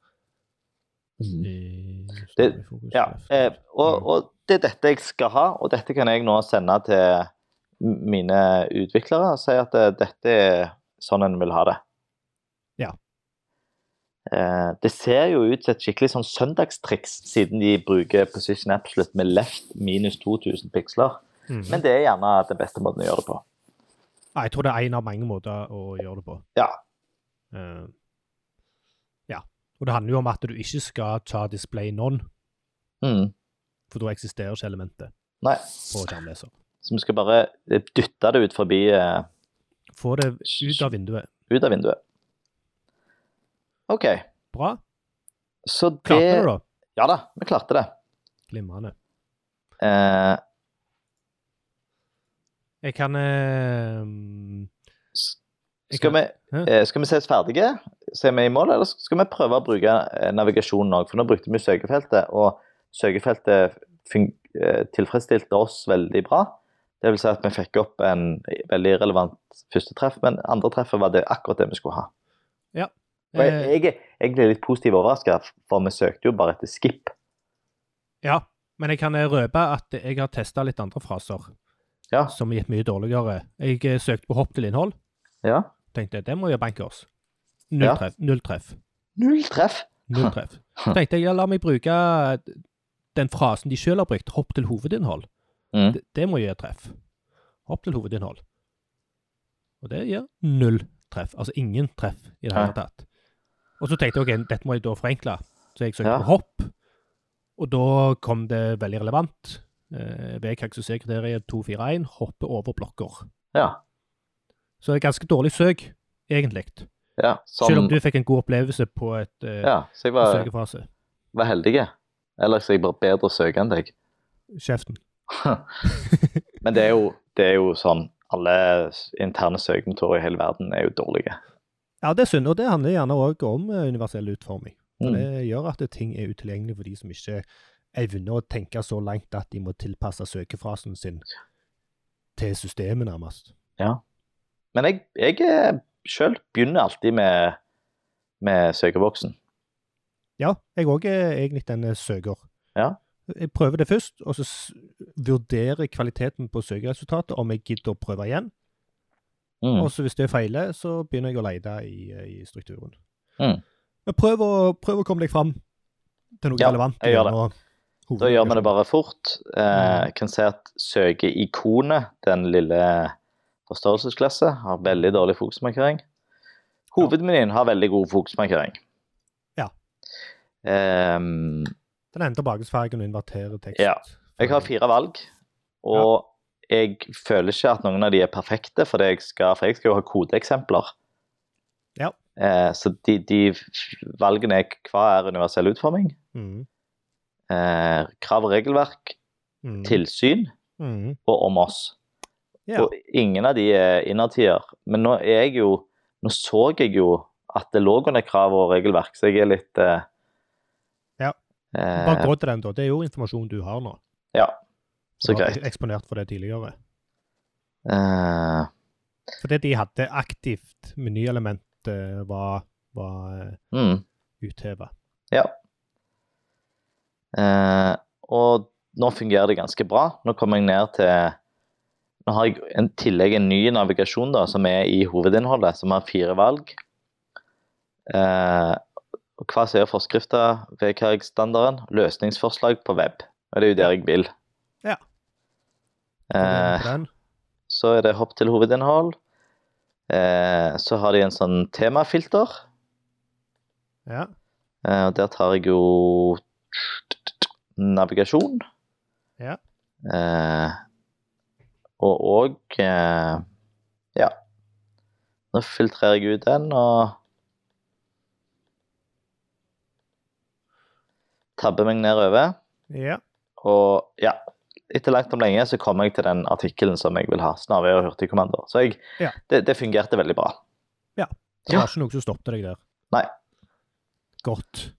Speaker 1: I-
Speaker 2: Mm. Det-
Speaker 1: i fokus,
Speaker 2: Ja,
Speaker 1: left.
Speaker 2: eh,
Speaker 1: Mm.
Speaker 2: og, og det er dette jeg skal ha, og dette kan jeg nå sende til m- mine utviklere og si at eh, dette er sånn en vil ha det.
Speaker 1: Ja.
Speaker 2: Eh, det ser jo ut som et skikkelig sånn søndagstriks, siden de bruker position absolute med left minus 2000 piksler.
Speaker 1: Mm.
Speaker 2: eh, Men det er gjerne den beste måten å gjøre det på.
Speaker 1: Ja, jeg tror det er én av mange måter å gjøre det på.
Speaker 2: Ja.
Speaker 1: Eh, ja. Og det handler jo om at du ikke skal ta display none,
Speaker 2: Mm.
Speaker 1: for da eksisterer ikke elementet
Speaker 2: Nei,
Speaker 1: på skjermleser.
Speaker 2: så vi skal bare eh, dytte det ut forbi eh,
Speaker 1: Få det ut av vinduet.
Speaker 2: ut av vinduet. OK,
Speaker 1: Bra.
Speaker 2: så det
Speaker 1: Klarte du, da?
Speaker 2: Ja da, vi klarte det.
Speaker 1: Glimrende.
Speaker 2: Eh,
Speaker 1: Jeg kan eh,
Speaker 2: S-
Speaker 1: Jeg
Speaker 2: Skal vi,
Speaker 1: Hæ?
Speaker 2: eh, skal vi ses ferdige? Så er vi i mål, eller skal vi prøve å bruke eh, navigasjonen òg? For nå brukte vi søkefeltet, og søkefeltet fun- eh, tilfredsstilte oss veldig bra. Det vil si at vi fikk opp en veldig relevant første treff, men andre treffet var det akkurat det vi skulle ha. Og jeg,
Speaker 1: eh,
Speaker 2: jeg, er egentlig litt positivt overraska, for vi søkte jo bare etter skip.
Speaker 1: Ja. Men jeg kan eh, røpe at jeg har testa litt andre fraser
Speaker 2: Ja.
Speaker 1: som har gitt mye dårligere. Jeg eh, søkte på hopp til innhold.
Speaker 2: ja.
Speaker 1: Tenkte det må jo bankers. Null
Speaker 2: Ja.
Speaker 1: treff. Null treff.
Speaker 2: Null treff!
Speaker 1: Null treff. Så tenkte jeg ja, la meg bruke den frasen de sjøl har brukt, hopp til hovedinnhold.
Speaker 2: Mm.
Speaker 1: Det, det må gi et treff. Hopp til hovedinnhold. Og det gir null treff. Altså ingen treff i det
Speaker 2: Nei.
Speaker 1: hele tatt. Og så tenkte jeg ok, dette må jeg da forenkle. Så jeg søkte
Speaker 2: Ja.
Speaker 1: på hopp, og da kom det veldig relevant. Eh, ved karakteriseringskriteriet 241 hoppe over blokker.
Speaker 2: Ja.
Speaker 1: Så det er ganske dårlig søk, egentlig.
Speaker 2: ja.
Speaker 1: Selv om
Speaker 2: Sånn.
Speaker 1: du fikk en god opplevelse på et eh,
Speaker 2: Ja, så
Speaker 1: en
Speaker 2: jeg var,
Speaker 1: søkefrase.
Speaker 2: var heldig. Ellers er jeg bare bedre å søke enn deg.
Speaker 1: Kjeften.
Speaker 2: Men det er jo, det er jo sånn Alle interne søkemotorer i hele verden er jo dårlige.
Speaker 1: Ja, det er synd, og det handler gjerne òg om eh, universell utforming. For
Speaker 2: Mm.
Speaker 1: Det gjør at ting er utilgjengelig for de som ikke evner å tenke så langt at de må tilpasse søkefrasen sin til systemet, nærmest.
Speaker 2: Men jeg, jeg sjøl begynner alltid med, med søkeboksen.
Speaker 1: Ja, jeg òg er egentlig en eh, søker.
Speaker 2: Ja.
Speaker 1: Jeg prøver det først, og så s- vurderer jeg kvaliteten på søkeresultatet, om jeg gidder å prøve igjen.
Speaker 2: Mm.
Speaker 1: Og så hvis det feiler, så begynner jeg å lete i, eh, i strukturen.
Speaker 2: Mm.
Speaker 1: Men prøv å, prøv å komme deg fram til noe
Speaker 2: Ja,
Speaker 1: relevant.
Speaker 2: jeg gjør det.
Speaker 1: gjennom hoved-
Speaker 2: Da gjør vi det bare fort. Eh,
Speaker 1: Mm.
Speaker 2: kan se at søkeikonet, den lille forstørrelsesglasset, har veldig dårlig fokusmarkering. Hovedmenyen har veldig god fokusmarkering.
Speaker 1: Ja.
Speaker 2: Ehm,
Speaker 1: Den ender bakgrunnsfargen og inverterer tekst.
Speaker 2: Ja. Jeg har fire valg, og jeg føler ikke at noen av de er perfekte, for jeg skal, for jeg skal jo ha kodeeksempler.
Speaker 1: Ja.
Speaker 2: Eh, så de, de valgene er hva er universell utforming,
Speaker 1: Mm,
Speaker 2: eh, krav og regelverk,
Speaker 1: mm,
Speaker 2: tilsyn
Speaker 1: mm.
Speaker 2: og om oss.
Speaker 1: Ja.
Speaker 2: Og ingen av de er innertier. Men nå er jeg jo Nå så jeg jo at det lå under krav og regelverk, så jeg er litt eh,
Speaker 1: Ja.
Speaker 2: eh,
Speaker 1: Bare gå til den, da. Det er jo informasjon du har nå.
Speaker 2: Ja.
Speaker 1: Du
Speaker 2: Så
Speaker 1: har
Speaker 2: greit.
Speaker 1: vært Eksponert for det tidligere.
Speaker 2: Eh,
Speaker 1: Fordi de hadde aktivt menyelement eh, var, var eh,
Speaker 2: mm.
Speaker 1: utheva.
Speaker 2: Eh, og nå fungerer det ganske bra. Nå kommer jeg ned til Nå har jeg en tillegg en ny navigasjon da, som er i hovedinnholdet, som har fire valg. Eh, og hva sier forskrifta ved Carrig-standarden? Løsningsforslag på web. Og det er jo der jeg vil.
Speaker 1: Ja.
Speaker 2: Eh, så er det hopp til hovedinnhold. Eh, så har de en sånn temafilter.
Speaker 1: Ja.
Speaker 2: Eh, og der tar jeg jo navigasjon.
Speaker 1: Ja.
Speaker 2: Eh, Og òg eh, Ja. Nå filtrerer jeg ut den og tabber meg nedover.
Speaker 1: Ja.
Speaker 2: Og ja, etter langt om lenge så kom jeg til den artikkelen som jeg vil ha. Snarveier og hurtigkommander. Så jeg,
Speaker 1: Ja.
Speaker 2: det, det fungerte veldig bra.
Speaker 1: Det var ikke noe som stoppet deg der.
Speaker 2: Nei.
Speaker 1: Godt.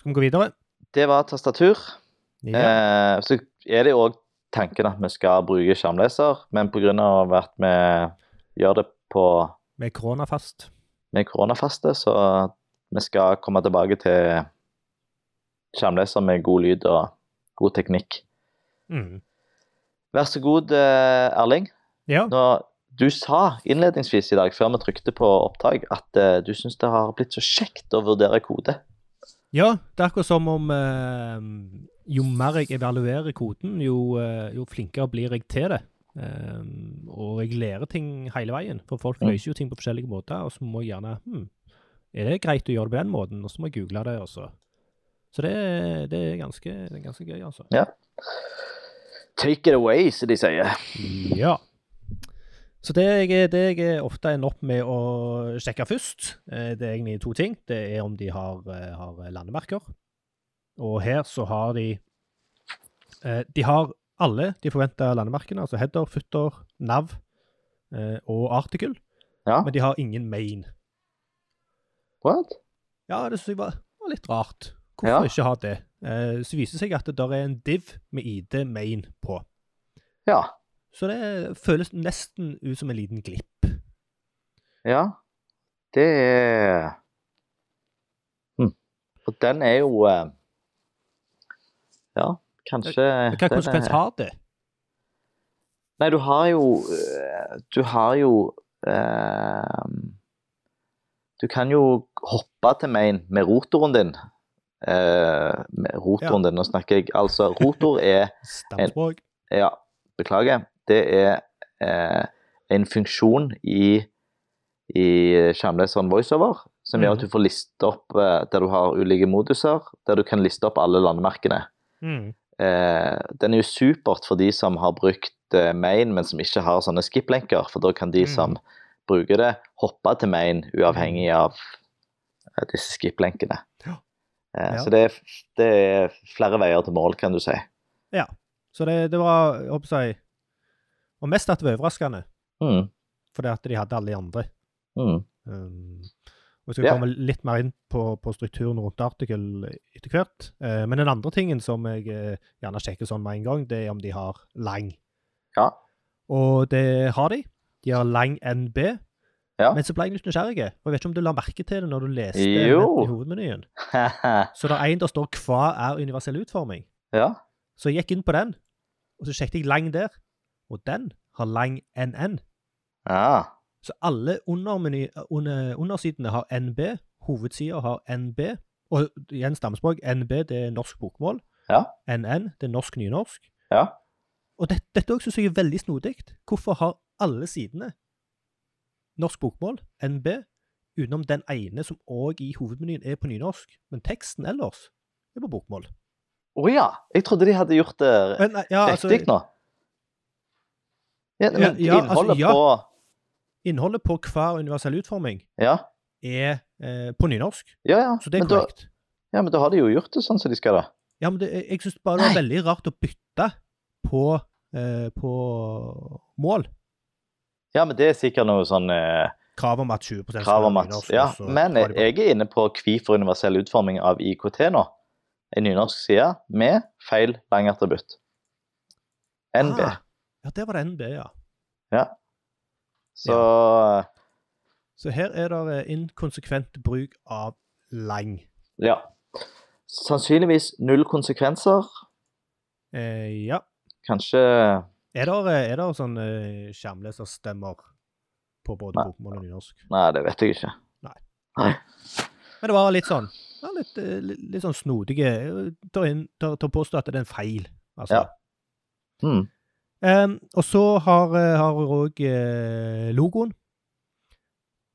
Speaker 1: Skal vi gå videre?
Speaker 2: Det var tastatur.
Speaker 1: Ja.
Speaker 2: Eh, så er det òg tanken at vi skal bruke skjermleser, men pga. at vi gjør det på
Speaker 1: Med korona fast.
Speaker 2: med koronafaste, så vi skal komme tilbake til skjermleser med god lyd og god teknikk.
Speaker 1: Mm.
Speaker 2: Vær så god, eh, Erling.
Speaker 1: Ja.
Speaker 2: Nå, du sa innledningsvis i dag, før vi trykte på opptak, at eh, du syns det har blitt så kjekt å vurdere kode.
Speaker 1: ja, det er akkurat som om eh, jo mer jeg evaluerer koden, jo, eh, jo flinkere blir jeg til det. Eh, og jeg lærer ting hele veien, for folk
Speaker 2: Mm.
Speaker 1: løser jo ting på forskjellige måter. Og så må jeg gjerne hm, Er det greit å gjøre det på den måten? Og så må jeg google det, altså. Så det, det, er ganske, det er ganske gøy, altså.
Speaker 2: Take it away, som de sier.
Speaker 1: Ja. Så det jeg, det jeg ofte ender opp med å sjekke først, eh, det er egentlig to ting. Det er om de har, eh, har landemerker. Og her så har de eh, De har alle de forventa landemerkene, altså header, footer, nav eh, og artikkel,
Speaker 2: Ja,
Speaker 1: men de har ingen main.
Speaker 2: what?
Speaker 1: Ja, det synes jeg var, var litt rart.
Speaker 2: Ja.
Speaker 1: Hvorfor ikke ha det? Eh, Så viser det seg at det der er en div med ID main på.
Speaker 2: Ja.
Speaker 1: Så det føles nesten ut som en liten glipp.
Speaker 2: Ja, det er hm. Og den er jo eh, Ja, kanskje
Speaker 1: Men Eh, Hva
Speaker 2: den
Speaker 1: konsekvens
Speaker 2: er-
Speaker 1: har det?
Speaker 2: Nei, du har jo eh, Du har jo eh, Du kan jo hoppe til main med rotoren din. Eh, med rotoren din, nå snakker jeg Altså, rotor er
Speaker 1: Stamspråk.
Speaker 2: Ja, beklager. Det er eh, en funksjon i, i skjermleseren VoiceOver som gjør
Speaker 1: Mhm.
Speaker 2: at du får liste opp eh, der du har ulike moduser, der du kan liste opp alle landemerkene.
Speaker 1: Mm.
Speaker 2: Eh, den er jo supert for de som har brukt eh, main, men som ikke har sånne skip-lenker, for da kan de
Speaker 1: Mhm.
Speaker 2: som bruker det, hoppe til main uavhengig av eh, disse skip-lenkene.
Speaker 1: Mhm. Ja.
Speaker 2: Eh,
Speaker 1: Ja.
Speaker 2: Så det er, f- det er flere veier til mål, kan du si.
Speaker 1: Så det, det var, jeg håper jeg Og mest at det var overraskende,
Speaker 2: Mm,
Speaker 1: fordi at de hadde alle de andre.
Speaker 2: mm.
Speaker 1: Um, og Vi skal
Speaker 2: Ja.
Speaker 1: komme litt mer inn på, på strukturen rundt artikkel etter hvert. Eh, men den andre tingen som jeg eh, gjerne sjekker sånn med en gang, det er om de har lang.
Speaker 2: Ja.
Speaker 1: Og det har de. De har lang NB.
Speaker 2: Ja.
Speaker 1: Men så ble jeg litt nysgjerrig. Og jeg vet ikke om du la merke til det når du leste
Speaker 2: Jo.
Speaker 1: i hovedmenyen. Så det er en der står 'Hva er universell utforming'?
Speaker 2: ja.
Speaker 1: Så jeg gikk inn på den, og så sjekket jeg lang der, og den har lang NN.
Speaker 2: Ja.
Speaker 1: Så alle undermeny, eh, under, undersidene har NB, hovedsida har NB, og igjen stammespråk, NB det er norsk bokmål,
Speaker 2: Ja.
Speaker 1: NN det er norsk nynorsk.
Speaker 2: Ja.
Speaker 1: Og det, dette også synes jeg er veldig snodig. Hvorfor har alle sidene norsk bokmål, NB, utenom den ene som òg i hovedmenyen er på nynorsk, men teksten ellers er på bokmål?
Speaker 2: Å ja! Jeg trodde de hadde gjort det riktig
Speaker 1: Men, ja, altså,
Speaker 2: nå. Ja, men
Speaker 1: ja, altså,
Speaker 2: innholdet
Speaker 1: ja.
Speaker 2: på
Speaker 1: innholdet på hver universell utforming
Speaker 2: Ja,
Speaker 1: er eh, på nynorsk.
Speaker 2: ja. ja.
Speaker 1: Så det er
Speaker 2: Men, da,
Speaker 1: korrekt.
Speaker 2: ja men da har de jo gjort det sånn som de skal, da.
Speaker 1: Ja, men det, jeg- jeg syns bare det var veldig rart å bytte på, eh, på mål.
Speaker 2: Ja, men det er sikkert noe sånn eh,
Speaker 1: Krav om at 20 skal
Speaker 2: krav om
Speaker 1: være
Speaker 2: at
Speaker 1: nynorsk,
Speaker 2: Ja,
Speaker 1: og så
Speaker 2: men
Speaker 1: altså tar de på-
Speaker 2: jeg er inne på hvorfor universell utforming av IKT nå. En nynorsk side med feil lang attributt. NB.
Speaker 1: Ah, ja, der var det NB, ja.
Speaker 2: Så
Speaker 1: Så her er det eh, inkonsekvent bruk av lang.
Speaker 2: ja. Sannsynligvis null konsekvenser.
Speaker 1: Eh, ja.
Speaker 2: Kanskje
Speaker 1: Er det, er det sånn eh, skjermleserstemmer på både
Speaker 2: Nei.
Speaker 1: bokmål og nynorsk?
Speaker 2: Nei, det vet jeg ikke.
Speaker 1: Men det var litt sånn ja, litt, eh, litt, litt sånn snodige. Ta inn- ta- ta påstå at det er en feil, altså.
Speaker 2: Ja. Mm.
Speaker 1: Ehm, og så har, eh, har hun òg eh, logoen.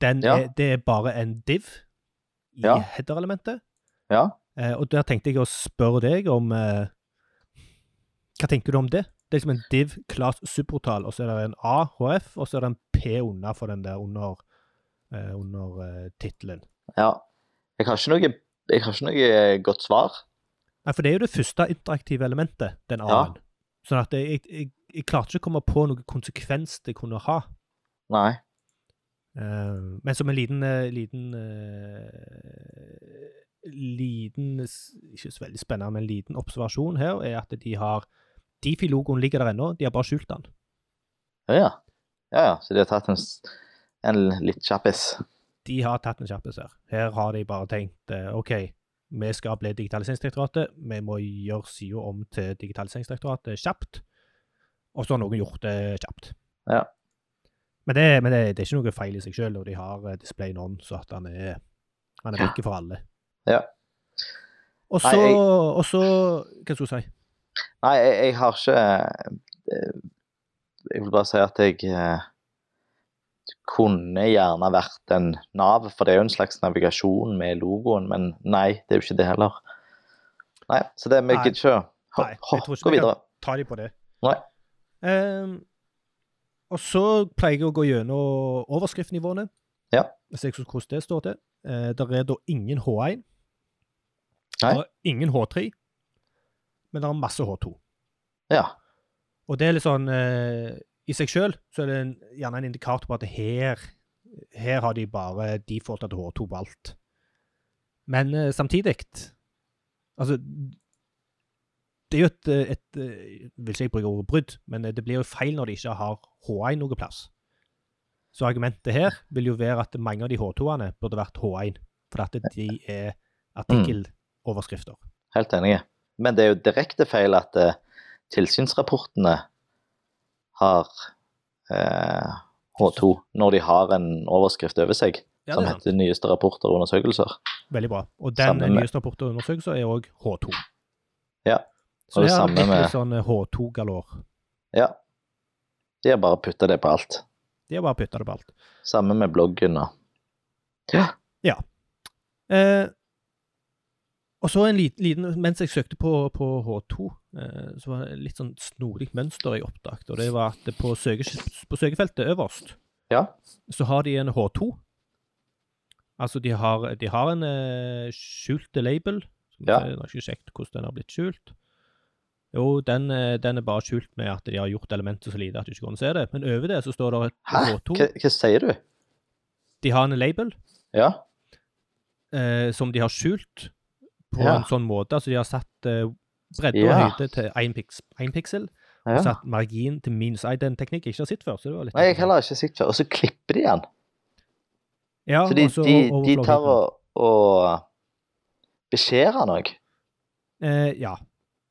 Speaker 1: Den
Speaker 2: Ja.
Speaker 1: er, det er bare en div i
Speaker 2: Ja.
Speaker 1: header-elementet.
Speaker 2: Ja.
Speaker 1: Eh, og der tenkte jeg å spørre deg om eh, Hva tenker du om det? Det er liksom en div class subportal, og så er det en A, HF, og så er det en P unna for den der under, eh, under eh, tittelen.
Speaker 2: Ja. Jeg har ikke noe, jeg har ikke noe eh, godt svar.
Speaker 1: Nei, for det er jo det første interaktive elementet, den
Speaker 2: Ja.
Speaker 1: A-en. Sånn at jeg, jeg, jeg klarte ikke å komme på noen konsekvens det kunne ha.
Speaker 2: Nei.
Speaker 1: Eh, men som en liten eh, liten eh, liten s- Ikke så veldig spennende, men liten observasjon her er at de har Difi-logoen ligger der ennå, de har bare skjult den.
Speaker 2: Ja, ja. ja. Så de har tatt en, s- en litt kjappis.
Speaker 1: De har tatt en kjappis her. Her har de bare tenkt eh, OK, vi skal bli Digitaliseringsdirektoratet, vi må gjøre sida om til Digitaliseringsdirektoratet kjapt. Og så har noen gjort det kjapt.
Speaker 2: Ja.
Speaker 1: Men det, men det, det er ikke noe feil i seg sjøl, og de har eh, displayen on, så at han er, han er
Speaker 2: Ja.
Speaker 1: vekke for alle.
Speaker 2: Ja.
Speaker 1: Og
Speaker 2: Nei,
Speaker 1: så,
Speaker 2: jeg-
Speaker 1: og så Hva skulle jeg si?
Speaker 2: Nei, jeg, jeg har ikke eh, Jeg vil bare si at jeg eh, kunne gjerne vært en nav, for det er jo en slags navigasjon med logoen, men nei, det er jo ikke det heller. Nei, så det vi
Speaker 1: Nei.
Speaker 2: gidder ikke å
Speaker 1: Nei, jeg
Speaker 2: ho- ho-
Speaker 1: tror ikke
Speaker 2: gå
Speaker 1: vi kan-
Speaker 2: videre.
Speaker 1: ta de på det.
Speaker 2: Nei.
Speaker 1: Ehm, og så pleier jeg å gå gjennom overskriftnivåene.
Speaker 2: Ja.
Speaker 1: Se så- hvordan det står til. Uh, der er da ingen H1.
Speaker 2: Nei.
Speaker 1: Der er ingen H3. Men det er masse H2.
Speaker 2: Ja.
Speaker 1: Og det er litt sånn eh, I seg sjøl så er det en, gjerne en indikator på at her her har de bare defaulta til H2 på alt. Men eh, samtidig Altså Det er jo et, eh, et eh, Vil ikke jeg bruke ordet brudd, men eh, det blir jo feil når de ikke har H1 noe plass. Så argumentet her vil jo være at mange av de H2-ene burde vært H1, for at de er artikkeloverskrifter.
Speaker 2: Helt enig. Men det er jo direkte feil at eh, tilsynsrapportene har eh, H2 når de har en overskrift over seg
Speaker 1: Ja,
Speaker 2: som heter 'nyeste rapporter og undersøkelser'.
Speaker 1: Veldig bra. Og den
Speaker 2: Sammen med-
Speaker 1: nyeste rapporten og undersøkelsen er òg H2.
Speaker 2: Ja.
Speaker 1: Så
Speaker 2: Og det
Speaker 1: her har
Speaker 2: samme
Speaker 1: det blitt
Speaker 2: med-
Speaker 1: litt sånn H2-galår.
Speaker 2: Ja. De har bare putta det på alt.
Speaker 1: De har bare putta det på alt.
Speaker 2: Samme med bloggen og
Speaker 1: Eh, og så en liten, liten Mens jeg søkte på, på H2, eh, så var det et litt sånn snodig mønster jeg oppdaget. Og det var at på, søke, på søkefeltet øverst
Speaker 2: Ja.
Speaker 1: så har de en H2. Altså, de har, de har en eh, skjult label. Skal vi
Speaker 2: Ja.
Speaker 1: se, Nå har jeg ikke sjekket hvordan den har blitt skjult. Jo, den, eh, den er bare skjult med at de har gjort elementet så lite at du ikke kan se det. Men over det så står det et
Speaker 2: Hæ? Hva,
Speaker 1: H2.
Speaker 2: hva sier du?
Speaker 1: De har en label
Speaker 2: Ja.
Speaker 1: eh, som de har skjult på
Speaker 2: Ja.
Speaker 1: en sånn måte. Altså, de har satt eh, bredde
Speaker 2: Ja.
Speaker 1: og høyde til én piks, en piksel, og
Speaker 2: ja.
Speaker 1: satt margin til minus én. Det er en teknikk jeg ikke har sett før. så det var litt...
Speaker 2: Nei, jeg har heller ikke sett før. Og så klipper de den.
Speaker 1: Ja,
Speaker 2: Så de,
Speaker 1: og så
Speaker 2: de, de
Speaker 1: overflow
Speaker 2: tar
Speaker 1: heaten.
Speaker 2: og, og beskjærer den òg.
Speaker 1: Eh, ja.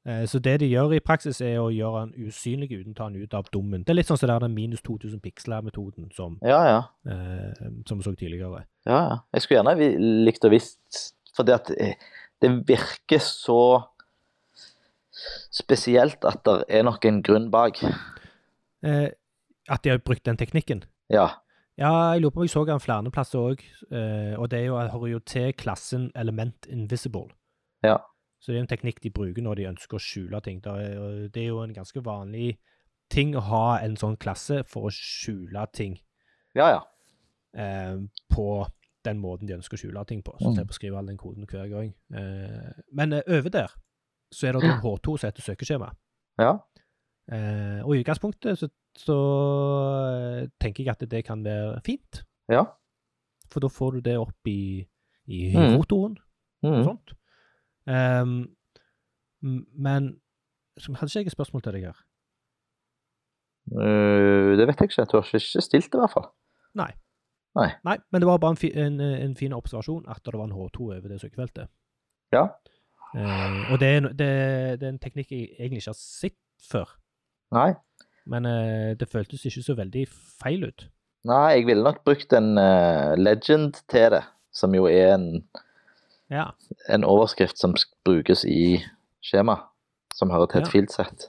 Speaker 1: Eh, så det de gjør i praksis, er å gjøre han usynlig uten å ta han ut av dommen. Det er litt sånn som det er den minus 2000 piksler-metoden som,
Speaker 2: Ja, ja.
Speaker 1: eh, som vi så tidligere.
Speaker 2: Ja, ja. Jeg skulle gjerne vi- likt å visst, fordi at eh, det virker så spesielt at det er nok en grunn bak.
Speaker 1: Eh, at de har brukt den teknikken.
Speaker 2: Ja,
Speaker 1: Ja, jeg lurer på om jeg så han flere plasser òg, eh, og det er jo, hører jo til klassen element invisible.
Speaker 2: Ja.
Speaker 1: Så det er en teknikk de bruker når de ønsker å skjule ting. Det er, og det er jo en ganske vanlig ting å ha en sånn klasse for å skjule ting.
Speaker 2: ja. ja.
Speaker 1: eh, på den måten de ønsker å skjule ting på. Så
Speaker 2: Mm.
Speaker 1: slipper å skrive all den koden hver gang. Eh, men eh, over der så er det en H2 som heter søkeskjema.
Speaker 2: Ja.
Speaker 1: Eh, og i utgangspunktet så, så eh, tenker jeg at det kan være fint,
Speaker 2: ja.
Speaker 1: for da får du det opp i, i
Speaker 2: Mm.
Speaker 1: rotoren og
Speaker 2: Mm.
Speaker 1: sånt. Ehm, m- men så hadde ikke jeg et spørsmål til deg her?
Speaker 2: Eh, det vet jeg ikke. Du har ikke stilt det, i hvert fall.
Speaker 1: Nei, men det var bare en, fi, en, en fin observasjon at det var en H2 over det søkefeltet.
Speaker 2: Ja.
Speaker 1: Eh, og det er, en- det, det er en teknikk jeg egentlig ikke har sett før,
Speaker 2: Nei.
Speaker 1: men eh, det føltes ikke så veldig feil ut.
Speaker 2: Nei, jeg ville nok brukt en eh, legend til det, som jo er en,
Speaker 1: Ja.
Speaker 2: en overskrift som sk- brukes i skjema, som hører til et
Speaker 1: Ja.
Speaker 2: fieldsett.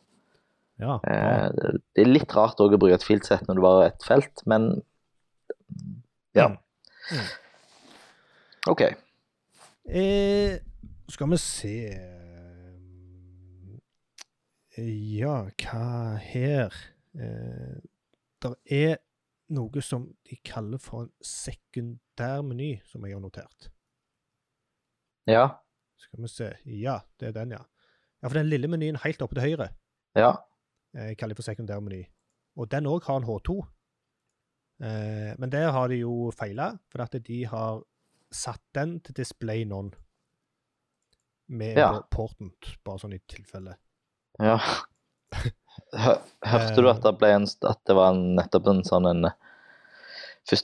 Speaker 1: ja. bra.
Speaker 2: Eh, det er litt rart også å bruke et fieldsett når du bare har et felt, men ja.
Speaker 1: Mm. Mm.
Speaker 2: OK.
Speaker 1: Eh, skal vi se Ja, hva her eh, Det er noe som de kaller for en sekundærmeny, som jeg har notert.
Speaker 2: Ja.
Speaker 1: Skal vi se Ja, det er den, ja. Ja, For den lille menyen helt oppe til høyre
Speaker 2: Ja.
Speaker 1: eh, kaller de for sekundærmeny. Og den òg har en H2. Eh, men der har de jo feila, for at de har satt den til display non. Med
Speaker 2: Ja.
Speaker 1: ja. portent, bare sånn i tilfelle.
Speaker 2: ja. Hø- Hørte du at det, ble en, at det var en, nettopp en sånn en 1.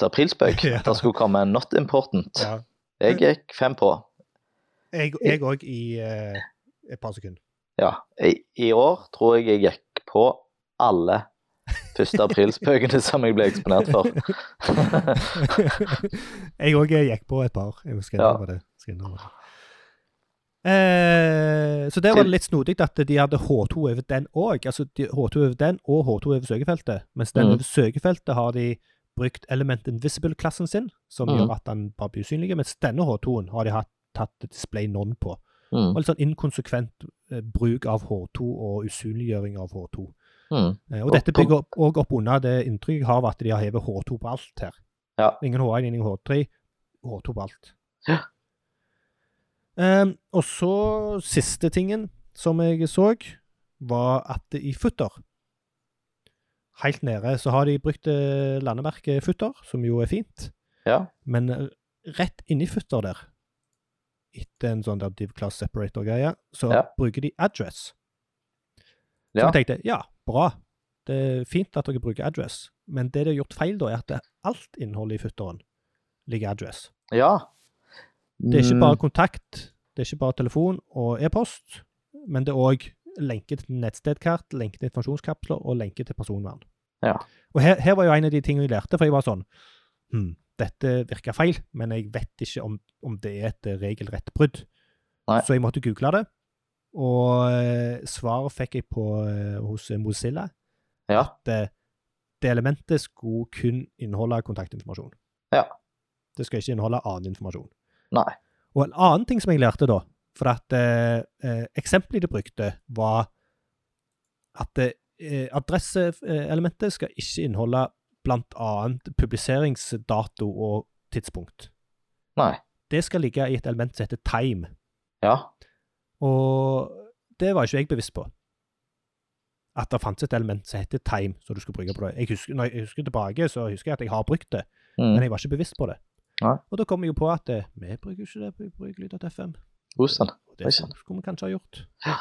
Speaker 2: aprilspøk?
Speaker 1: Ja.
Speaker 2: At det skulle komme en not important?
Speaker 1: Ja.
Speaker 2: Jeg gikk fem på.
Speaker 1: Jeg òg i eh, et par sekunder.
Speaker 2: Ja. I, I år tror jeg jeg gikk på alle 1. aprilspøkene som jeg ble eksponert for.
Speaker 1: jeg òg gikk på et par. Jeg skal innrømme det. Skal innrømme det. Eh, så der var det litt snodig at de hadde H2 over den òg. Altså de, H2 over den og H2 over søkefeltet. Mens den
Speaker 2: Mhm.
Speaker 1: over søkefeltet har de brukt Element Invisible-klassen sin, som
Speaker 2: Mhm.
Speaker 1: gjør at den bare blir usynlig. Mens denne H2-en har de hatt, tatt display non på. Og
Speaker 2: Mm.
Speaker 1: litt sånn inkonsekvent eh, bruk av H2 og usynliggjøring av H2.
Speaker 2: Mm.
Speaker 1: Eh, Og
Speaker 2: Og
Speaker 1: dette
Speaker 2: på-
Speaker 1: bygger opp, og opp under det inntrykket jeg har av at de har hevet H2 på alt her.
Speaker 2: Ja.
Speaker 1: Ingen H1, ingen H3. H2 på alt.
Speaker 2: Ja.
Speaker 1: Ehm, og så siste tingen som jeg så, var at det i futter Helt nede så har de brukt eh, landemerket futter, som jo er fint,
Speaker 2: Ja.
Speaker 1: men eh, rett inni futter der, etter en sånn der div class separator-greie, så
Speaker 2: Ja.
Speaker 1: bruker de address. Så
Speaker 2: Ja.
Speaker 1: jeg tenkte ja, bra. Det er fint at dere bruker address, men det de har gjort feil, da, er at det- alt innholdet i futteren ligger address.
Speaker 2: ja.
Speaker 1: Det er ikke
Speaker 2: Mm.
Speaker 1: bare kontakt, det er ikke bare telefon og e-post, men det er òg lenke til nettstedkart, lenke til informasjonskapsler og lenke til personvern.
Speaker 2: Ja.
Speaker 1: Og her, her var jo en av de tingene jeg lærte, for jeg var sånn hm, Dette virker feil, men jeg vet ikke om, om det er et eh, regelrett brudd.
Speaker 2: Nei.
Speaker 1: Så jeg måtte google det, og eh, svaret fikk jeg på, eh, hos Mozilla
Speaker 2: Ja.
Speaker 1: at eh, det elementet skulle kun inneholde kontaktinformasjon.
Speaker 2: Ja.
Speaker 1: Det skal ikke inneholde annen informasjon.
Speaker 2: Nei.
Speaker 1: Og en annen ting som jeg lærte da, for at eh, eh, eksempelet de brukte, var at eh, adresseelementet skal ikke inneholde blant annet publiseringsdato og tidspunkt.
Speaker 2: Nei.
Speaker 1: Det skal ligge i et element som heter time.
Speaker 2: Ja.
Speaker 1: Og det var ikke jeg bevisst på. At det fantes et element som heter time, som du skulle bruke på det. Jeg husker, når jeg husker tilbake, så husker jeg at jeg har brukt det, men
Speaker 2: Mm.
Speaker 1: jeg var ikke bevisst på det.
Speaker 2: Nei.
Speaker 1: Og da kom jeg jo på at eh, vi bruker ikke det, vi bruker lyd.fm.
Speaker 2: Hosen.
Speaker 1: Og
Speaker 2: Oi
Speaker 1: det
Speaker 2: sann.
Speaker 1: skulle vi kanskje ha gjort.
Speaker 2: Ja.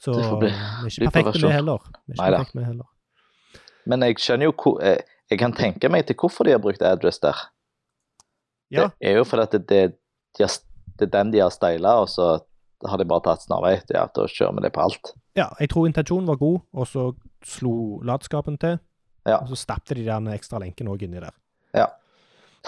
Speaker 1: Så
Speaker 2: Det får bli
Speaker 1: vi er
Speaker 2: litt
Speaker 1: ikke perfekte,
Speaker 2: versjon.
Speaker 1: vi heller. Vi er ikke
Speaker 2: Neida.
Speaker 1: perfekte, vi heller.
Speaker 2: Men jeg skjønner jo hvor eh, Jeg kan tenke meg til hvorfor de har brukt address der.
Speaker 1: Ja,
Speaker 2: Det er jo fordi at det, det, de har, s- det er den de har styla, og så har de bare tatt snarvei. Ja, da kjører vi det på alt.
Speaker 1: ja, jeg tror intensjonen var god, og så slo latskapen til.
Speaker 2: Ja.
Speaker 1: Og så stappte de den ekstra lenken òg inni der.
Speaker 2: Ja.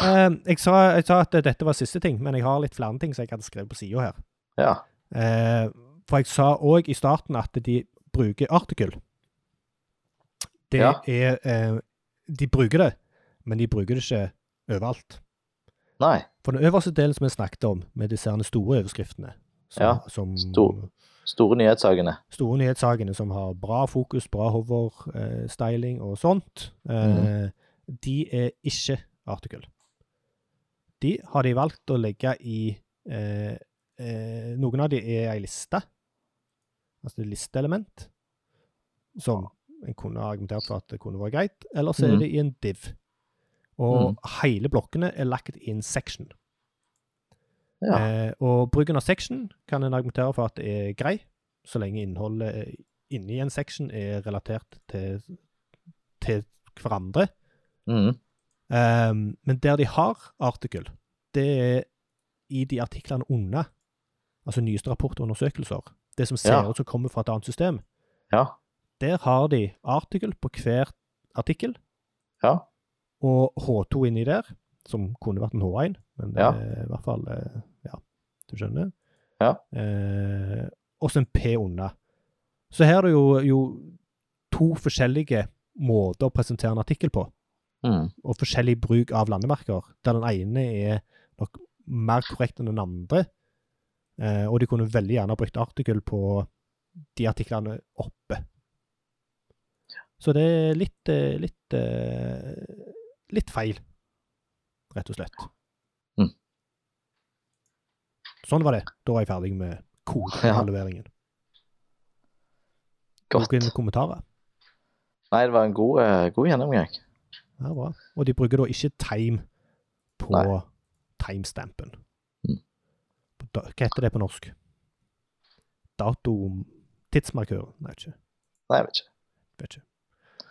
Speaker 1: Eh, jeg, sa, jeg sa at dette var siste ting, men jeg har litt flere ting som jeg hadde skrevet på sida her.
Speaker 2: Ja.
Speaker 1: Eh, for jeg sa òg i starten at de bruker artikkel. Det
Speaker 2: Ja.
Speaker 1: er eh, De bruker det, men de bruker det ikke overalt.
Speaker 2: Nei.
Speaker 1: For den øverste delen som vi snakket om, med disse herne store overskriftene som,
Speaker 2: Ja,
Speaker 1: som-
Speaker 2: stor. Store nyhetssakene.
Speaker 1: store nyhetssakene som har bra fokus, bra hover, eh, styling og sånt, eh, de er ikke artikkel. De har de valgt å legge i eh, eh, Noen av de er ei liste, altså et listeelement, som en kunne ha argumentert for at det kunne vært greit. Eller så er
Speaker 2: Mhm.
Speaker 1: det i en div. Og
Speaker 2: Mm.
Speaker 1: hele blokkene er lagt i en section.
Speaker 2: Ja.
Speaker 1: Eh, og bruken av section kan en argumentere for at det er grei, så lenge innholdet eh, inni en section er relatert til, til hverandre.
Speaker 2: Mm.
Speaker 1: Ehm, men der de har artikkel, det er i de artiklene under, altså nyeste rapporter og undersøkelser, det som ser
Speaker 2: Ja.
Speaker 1: ut som kommer fra et annet system.
Speaker 2: Ja.
Speaker 1: Der har de artikkel på hver artikkel,
Speaker 2: Ja.
Speaker 1: og H2 inni der, som kunne vært en H1, men
Speaker 2: Ja.
Speaker 1: eh, i hvert fall eh, Ja, du skjønner?
Speaker 2: Ja.
Speaker 1: Eh, og så en P unna. Så her er det jo, jo to forskjellige måter å presentere en artikkel på,
Speaker 2: Mm.
Speaker 1: og forskjellig bruk av landemerker, der den ene er nok mer korrekt enn den andre. Eh, og de kunne veldig gjerne ha brukt artikkel på de artiklene oppe. Så det er litt eh, litt, eh, litt feil, rett og slett.
Speaker 2: Mm.
Speaker 1: Sånn var det. Da var jeg ferdig med kodehalveringen.
Speaker 2: Godt.
Speaker 1: Noen kommentarer?
Speaker 2: Nei, det var en god, eh, god gjennomgang.
Speaker 1: Ja, bra. Og de bruker da ikke time på
Speaker 2: Nei.
Speaker 1: timestampen.
Speaker 2: Mm.
Speaker 1: På da- Hva heter det på norsk? Dato... Tidsmarkør? Nei, ikke.
Speaker 2: Nei, jeg vet ikke.
Speaker 1: vet ikke.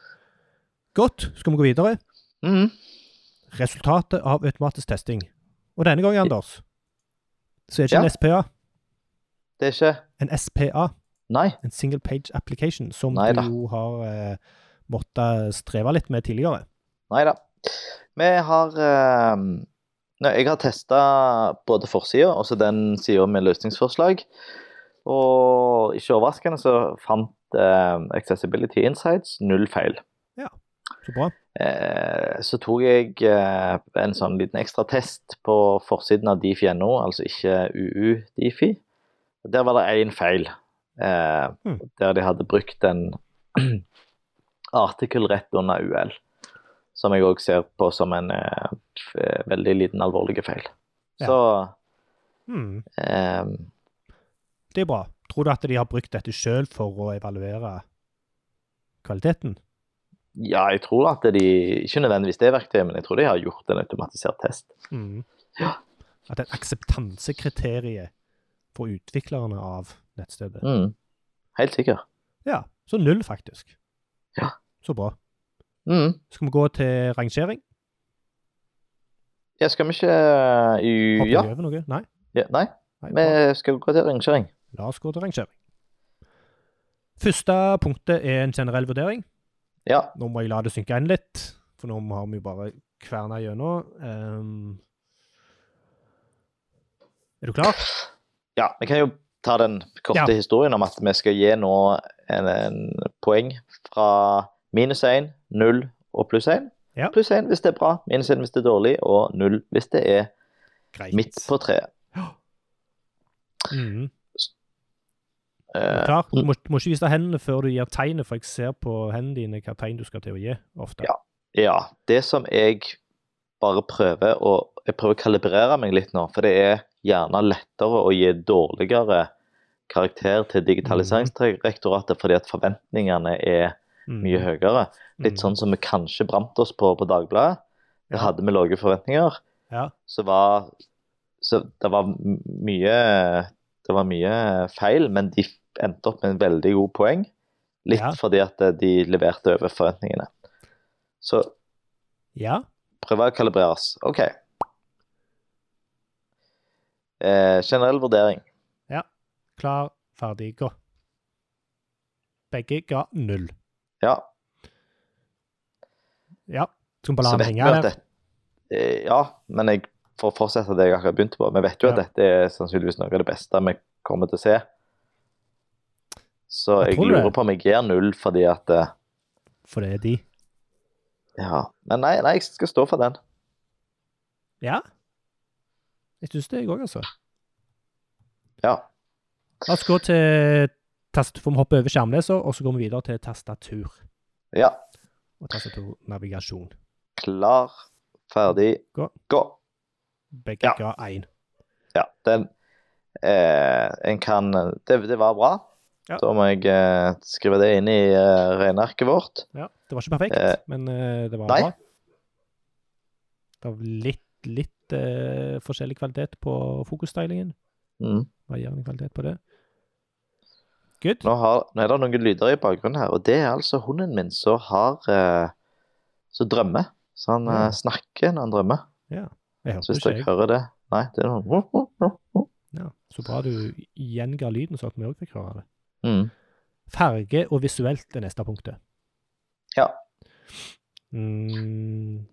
Speaker 1: Godt, skal vi gå videre?
Speaker 2: Mhm.
Speaker 1: Resultatet av automatisk testing. Og denne gangen, Anders, så er det ikke
Speaker 2: Ja.
Speaker 1: en SPA.
Speaker 2: Det er ikke
Speaker 1: En SPA,
Speaker 2: Nei.
Speaker 1: en single page application, som
Speaker 2: Nei da.
Speaker 1: du jo har eh, måttet streve litt med tidligere.
Speaker 2: Nei da. Vi har eh, nei, Jeg har testa både forsida og så den sida med løsningsforslag. Og ikke overraskende så fant eh, Accessibility Insights null feil.
Speaker 1: Så bra.
Speaker 2: Eh, så tok jeg eh, en sånn liten ekstra test på forsiden av Difi.no, altså ikke UU Difi. Der var det én feil, eh,
Speaker 1: Mm.
Speaker 2: der de hadde brukt en artikkel rett under UL. Som jeg òg ser på som en eh, f- eh, veldig liten alvorlig feil.
Speaker 1: Ja.
Speaker 2: Så
Speaker 1: Hmm,
Speaker 2: eh,
Speaker 1: det er bra. Tror du at de har brukt dette sjøl for å evaluere kvaliteten?
Speaker 2: ja, jeg tror at de Ikke nødvendigvis det verktøyet, men jeg tror de har gjort en automatisert test.
Speaker 1: Hmm.
Speaker 2: Ja.
Speaker 1: At det er et akseptansekriterium for utviklerne av nettstedet.
Speaker 2: Mm. Helt sikker.
Speaker 1: Ja, så null, faktisk.
Speaker 2: Ja.
Speaker 1: Så bra.
Speaker 2: Mm.
Speaker 1: Skal vi gå til rangering?
Speaker 2: Ja, skal vi ikke eh, i-
Speaker 1: Hopper
Speaker 2: Ja.
Speaker 1: vi over noe? Nei?
Speaker 2: Ja, nei,
Speaker 1: Nei
Speaker 2: vi
Speaker 1: bra.
Speaker 2: skal gå til rangering.
Speaker 1: La oss gå til rangering. Første punktet er en generell vurdering.
Speaker 2: Ja.
Speaker 1: Nå må jeg la det synke inn litt, for nå har vi jo bare kverna gjennom. Ehm, er du klar?
Speaker 2: ja, vi kan jo ta den korte
Speaker 1: Ja.
Speaker 2: historien om at vi skal gi nå en, en poeng fra minus 1, 0 og pluss 1.
Speaker 1: Ja.
Speaker 2: Pluss 1 hvis det er bra, minus 1 hvis det er dårlig, og 0 hvis det er
Speaker 1: Greit.
Speaker 2: midt på treet.
Speaker 1: Mhm, er du
Speaker 2: Eh,
Speaker 1: klar? Du må, du må ikke vise hendene før du gir tegnet, for jeg ser på hendene dine hva tegn du skal til å gi, ofte.
Speaker 2: Ja. ja. Det som jeg bare prøver å Jeg prøver å kalibrere meg litt nå, for det er gjerne lettere å gi dårligere karakter til Digitaliseringsdirektoratet fordi at forventningene er
Speaker 1: Mhm,
Speaker 2: mye høyere. Litt
Speaker 1: mhm.
Speaker 2: sånn som vi kanskje brant oss på på Dagbladet. Da
Speaker 1: Ja.
Speaker 2: hadde vi lave forventninger.
Speaker 1: Ja.
Speaker 2: Så var Så det var m- mye Det var mye feil, men de f- endte opp med en veldig god poeng. Litt
Speaker 1: Ja.
Speaker 2: fordi at eh, de leverte over forventningene. Så
Speaker 1: Ja.
Speaker 2: prøve å kalibreres. OK. Eh, generell vurdering.
Speaker 1: Klar, ferdig, gå. Begge ga null.
Speaker 2: Ja.
Speaker 1: Ja. Skal vi bare
Speaker 2: Så
Speaker 1: la den
Speaker 2: vet vi
Speaker 1: henge
Speaker 2: at
Speaker 1: der?
Speaker 2: det, eh, Ja, men jeg får fortsette det jeg akkurat begynte på. Vi vet jo at
Speaker 1: Ja.
Speaker 2: dette er sannsynligvis noe av det beste vi kommer til å se. Så
Speaker 1: Jeg
Speaker 2: jeg,
Speaker 1: tror det.
Speaker 2: lurer på om jeg gir null fordi at eh,
Speaker 1: For det er de.
Speaker 2: Ja. Men nei, nei, jeg skal stå for den.
Speaker 1: Ja. Jeg syns det, jeg òg, altså.
Speaker 2: Ja.
Speaker 1: La oss gå til tast, for vi hopper over skjermleser, og så går vi videre til tastatur
Speaker 2: Ja.
Speaker 1: og tastaturnavigasjon.
Speaker 2: Klar, ferdig,
Speaker 1: Gå.
Speaker 2: gå.
Speaker 1: Begge
Speaker 2: Ja.
Speaker 1: ga én.
Speaker 2: Ja, den eh, En kan Det, det var bra.
Speaker 1: Ja.
Speaker 2: Da må jeg eh, skrive det inn i eh, regnearket vårt.
Speaker 1: Ja, det var ikke perfekt,
Speaker 2: Eh,
Speaker 1: men eh, det var
Speaker 2: nei.
Speaker 1: bra. Det var litt, litt eh, forskjellig kvalitet på fokusstylingen.
Speaker 2: Mm.
Speaker 1: Varierende kvalitet på det. Good.
Speaker 2: Nå, har, nå er det noen lyder i bakgrunnen her, og det er altså hunden min som har eh, Som drømmer. Så han eh,
Speaker 1: Ja.
Speaker 2: snakker når han drømmer.
Speaker 1: Jeg
Speaker 2: Så
Speaker 1: hørte
Speaker 2: hvis
Speaker 1: ikke,
Speaker 2: dere
Speaker 1: jeg.
Speaker 2: hører det Nei, det er noen
Speaker 1: Ja, så bra du gjenga lyden, så at vi òg fikk høre det.
Speaker 2: mm.
Speaker 1: Farge og visuelt er neste punktet.
Speaker 2: Ja.
Speaker 1: Mm,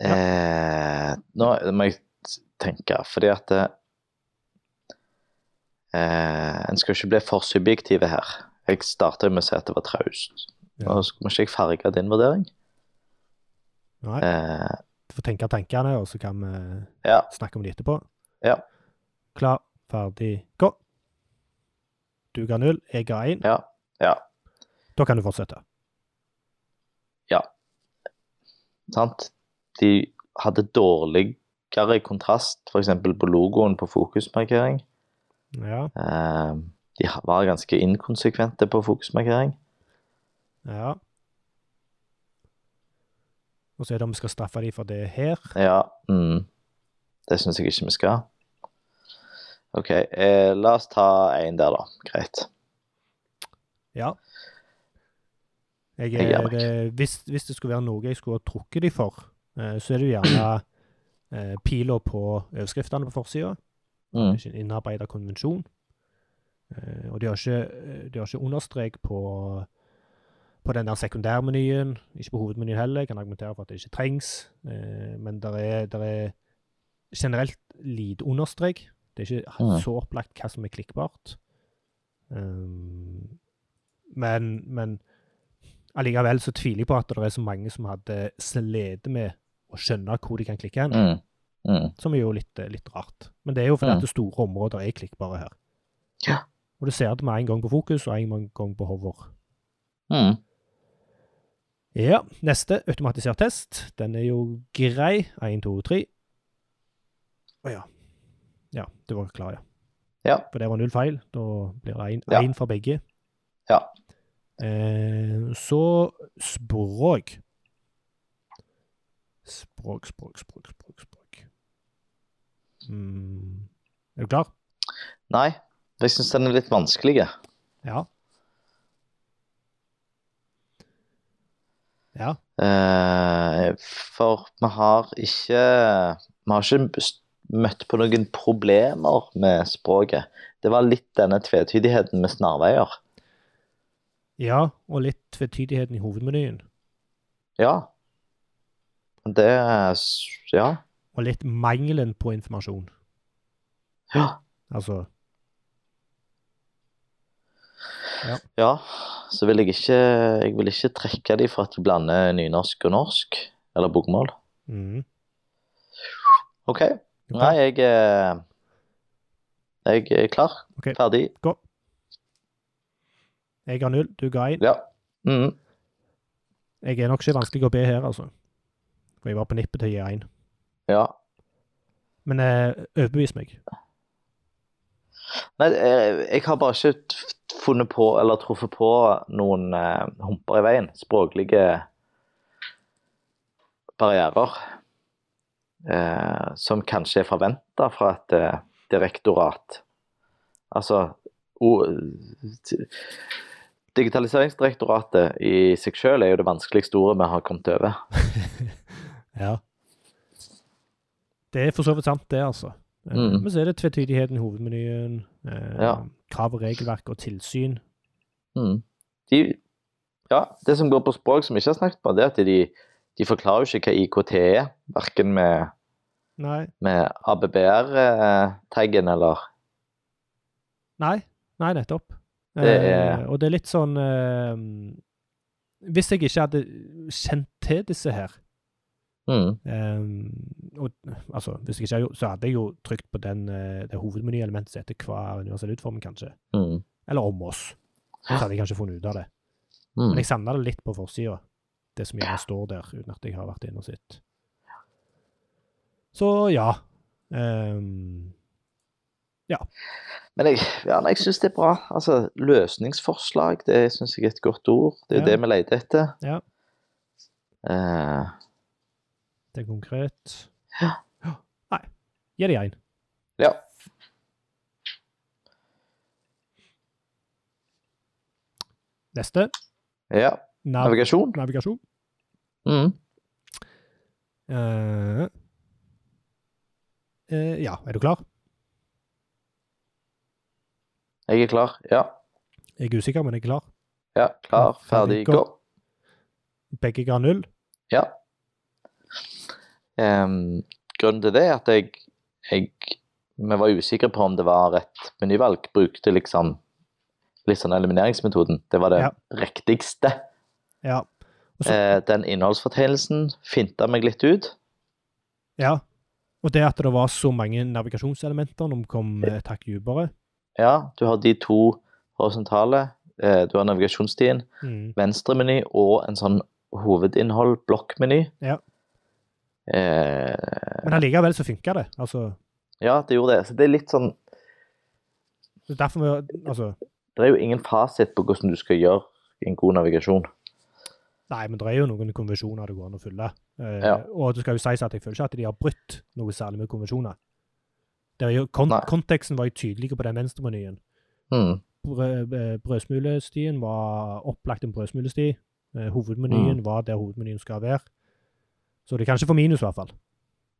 Speaker 1: Ja.
Speaker 2: eh, Nå må jeg tenke, fordi at eh, En skal ikke bli for subjektive her. Jeg starta med å si at det var traust.
Speaker 1: Ja.
Speaker 2: Nå må ikke jeg farge din vurdering.
Speaker 1: nei,
Speaker 2: Eh,
Speaker 1: du får tenke tankene, og så kan vi
Speaker 2: Ja.
Speaker 1: snakke om det etterpå.
Speaker 2: Ja.
Speaker 1: Klar, ferdig, gå. Du ga null, jeg ga én.
Speaker 2: Ja. Ja.
Speaker 1: Da kan du fortsette.
Speaker 2: Sant? De hadde dårligere kontrast, f.eks. på logoen på fokusmarkering.
Speaker 1: Ja.
Speaker 2: Eh, de var ganske inkonsekvente på fokusmarkering.
Speaker 1: ja. Og så er det om vi skal straffe dem for det her.
Speaker 2: Ja. Mm. Det syns jeg ikke vi skal. OK, eh, la oss ta én der, da. Greit.
Speaker 1: Ja. Jeg
Speaker 2: Jeg
Speaker 1: er,
Speaker 2: gjør det
Speaker 1: det, hvis, hvis det skulle være noe jeg skulle ha trukket de for, eh, så er det jo gjerne eh, piler på overskriftene på forsida. Det
Speaker 2: Mm.
Speaker 1: er ikke en innarbeida konvensjon. Eh, og de har ikke, de har ikke understrek på, på den der sekundærmenyen. Ikke på hovedmenyen heller. Jeg kan argumentere for at det ikke trengs. Eh, men der er, der er generelt lite understrek. Det er ikke
Speaker 2: Mm.
Speaker 1: så opplagt hva som er klikkbart. Um, men, men allikevel så tviler jeg på at det er så mange som hadde slitt med å skjønne hvor de kan klikke hen.
Speaker 2: Mm. Mm.
Speaker 1: Som er jo litt, eh, litt rart. Men det er jo fordi
Speaker 2: Mm.
Speaker 1: at det store områder er klikkbare her.
Speaker 2: Ja.
Speaker 1: Og du ser det med en gang på fokus og en gang på hover.
Speaker 2: Mm.
Speaker 1: Ja, neste automatisert test. Den er jo grei. 1, 2, 3. Å ja. Ja, du var klar, ja.
Speaker 2: Ja.
Speaker 1: For det var null feil. Da blir det
Speaker 2: Ja.
Speaker 1: én fra begge.
Speaker 2: Ja.
Speaker 1: Eh, så språk. Språk, språk, språk, språk, språk. Mm. Er du klar?
Speaker 2: Nei, jeg syns den er litt vanskelig. Eh, jeg.
Speaker 1: Ja. Ja.
Speaker 2: Eh, for vi har ikke Vi har ikke s- møtt på noen problemer med språket. Det var litt denne tvetydigheten med snarveier.
Speaker 1: ja, og litt tvetydigheten i hovedmenyen.
Speaker 2: Ja. Det er s- Ja.
Speaker 1: Og litt mangelen på informasjon.
Speaker 2: Ja.
Speaker 1: Altså,
Speaker 2: ja. Så vil jeg ikke Jeg vil ikke trekke de for at de blander nynorsk og norsk. Eller bokmål.
Speaker 1: mm.
Speaker 2: OK. Nei, jeg er Jeg er klar.
Speaker 1: Ok.
Speaker 2: Ferdig.
Speaker 1: Jeg ga null, du ga én.
Speaker 2: Ja. Mm.
Speaker 1: Jeg er nok ikke vanskelig å be her, altså. For jeg var på nippet til å gi én.
Speaker 2: Ja.
Speaker 1: Men eh, overbevis meg.
Speaker 2: Nei, jeg, jeg har bare ikke t- funnet på eller truffet på noen eh, humper i veien. Språklige barrierer. Eh, som kanskje er forventa fra et eh, direktorat. Altså o, t- Digitaliseringsdirektoratet i seg sjøl er jo det vanskeligste ordet vi har kommet over.
Speaker 1: Ja. Det er for så vidt sant, det, altså. Eh,
Speaker 2: Mm.
Speaker 1: Men så er det tvetydigheten i hovedmenyen, eh,
Speaker 2: Ja.
Speaker 1: krav og regelverk og tilsyn.
Speaker 2: Mm. De, ja, det som går på språk som vi ikke har snakket om, det er at de, de forklarer jo ikke hva IKT E er, verken med
Speaker 1: Nei.
Speaker 2: med ABBR-taggen, eh, eller
Speaker 1: Nei, Nei nettopp.
Speaker 2: Det er-
Speaker 1: Eh, og det er litt sånn eh, Hvis jeg ikke hadde kjent til disse her
Speaker 2: mm,
Speaker 1: eh, og, altså, hvis jeg ikke hadde, gjort- Så hadde jeg jo trykt på den, eh, det hovedmenyelementet som heter hver universell utforming, kanskje.
Speaker 2: mm,
Speaker 1: Eller om oss. Så hadde jeg kanskje funnet ut av det. Men
Speaker 2: mm.
Speaker 1: jeg savna det litt på forsida, det som gjerne står der, uten at jeg har vært inne og sett. Så ja. Ehm,
Speaker 2: Men jeg, ja, nei, jeg syns det er bra. Altså, løsningsforslag det syns jeg er et godt ord. Det er
Speaker 1: Ja.
Speaker 2: det vi leter etter.
Speaker 1: Ja.
Speaker 2: Eh,
Speaker 1: det er konkret.
Speaker 2: Ja.
Speaker 1: Nei. Gi det én.
Speaker 2: ja.
Speaker 1: Neste.
Speaker 2: ja.
Speaker 1: Nav
Speaker 2: Navigasjon.
Speaker 1: navigasjon.
Speaker 2: Mm.
Speaker 1: Eh, eh, ja, er du klar?
Speaker 2: Jeg er klar. Ja.
Speaker 1: Jeg er usikker, men jeg er klar.
Speaker 2: ja. Klar, ferdig,
Speaker 1: Ferdig,
Speaker 2: gå.
Speaker 1: Begge ga null.
Speaker 2: Ja. Em, grunnen til det er at jeg, jeg Vi var usikre på om det var rett menyvalg. Brukte liksom litt sånn elimineringsmetoden. Det var det
Speaker 1: Ja.
Speaker 2: riktigste.
Speaker 1: Ja. Og så-
Speaker 2: Eh, den innholdsfortegnelsen finta meg litt ut.
Speaker 1: ja. Og det at det eh, var så mange navigasjonselementer når vi kom et hakk dypere.
Speaker 2: Ja, du har de to horisontale. eh, Du har navigasjonstiden,
Speaker 1: Mm.
Speaker 2: venstremeny og en sånn hovedinnhold, blokkmeny.
Speaker 1: Ja.
Speaker 2: Eh,
Speaker 1: Men allikevel så funker det. Altså,
Speaker 2: ja, det gjorde det. Så det er litt sånn
Speaker 1: det er derfor vi Altså,
Speaker 2: Det er jo ingen fasit på hvordan du skal gjøre en god navigasjon.
Speaker 1: nei, men det er jo noen konvensjoner det går an å følge. Eh,
Speaker 2: Ja.
Speaker 1: Og det skal jo sies at jeg føler ikke at de har brutt noe særlig med konvensjoner. Det er jo, kon
Speaker 2: Nei.
Speaker 1: konteksten var jo tydelig på den venstremenyen.
Speaker 2: Mm.
Speaker 1: Brød, eh, brødsmulestien var opplagt en brødsmulesti. Eh,
Speaker 2: Mm.
Speaker 1: Hovedmenyen var der hovedmenyen skal være. Så de kan ikke få minus, i hvert fall.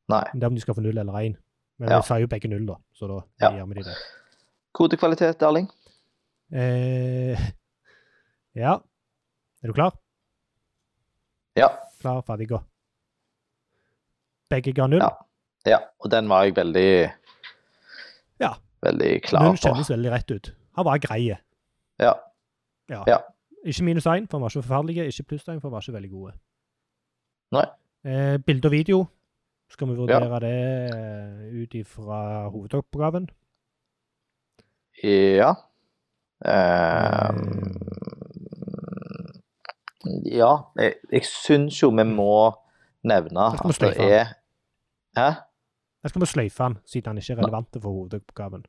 Speaker 2: Nei.
Speaker 1: Det er om de skal få null eller én. Men
Speaker 2: Ja.
Speaker 1: vi sa jo begge null, da. Så da
Speaker 2: Ja.
Speaker 1: gjør vi de det.
Speaker 2: Kodekvalitet, Erling?
Speaker 1: Eh, ja. Er du klar?
Speaker 2: Ja.
Speaker 1: Klar, ferdig, gå. Begge ga null.
Speaker 2: Ja. Ja, og den var jeg veldig
Speaker 1: Ja.
Speaker 2: Veldig klar
Speaker 1: Null
Speaker 2: på.
Speaker 1: kjennes veldig rett ut. Han var grei.
Speaker 2: Ja.
Speaker 1: Ja.
Speaker 2: Ja.
Speaker 1: Ikke minus én, for han var ikke forferdelig. Ikke pluss én, for han var ikke veldig gode.
Speaker 2: Nei.
Speaker 1: Eh, bilde og video. Skal vi vurdere det eh, ut ifra hovedoppgaven?
Speaker 2: Ja. Ehm, ja, jeg, jeg syns jo vi må nevne
Speaker 1: Da skal vi
Speaker 2: at det
Speaker 1: sløyfe.
Speaker 2: er Hæ?
Speaker 1: Jeg skal bare sløyfe han, siden han ikke er relevant for hovedoppgaven.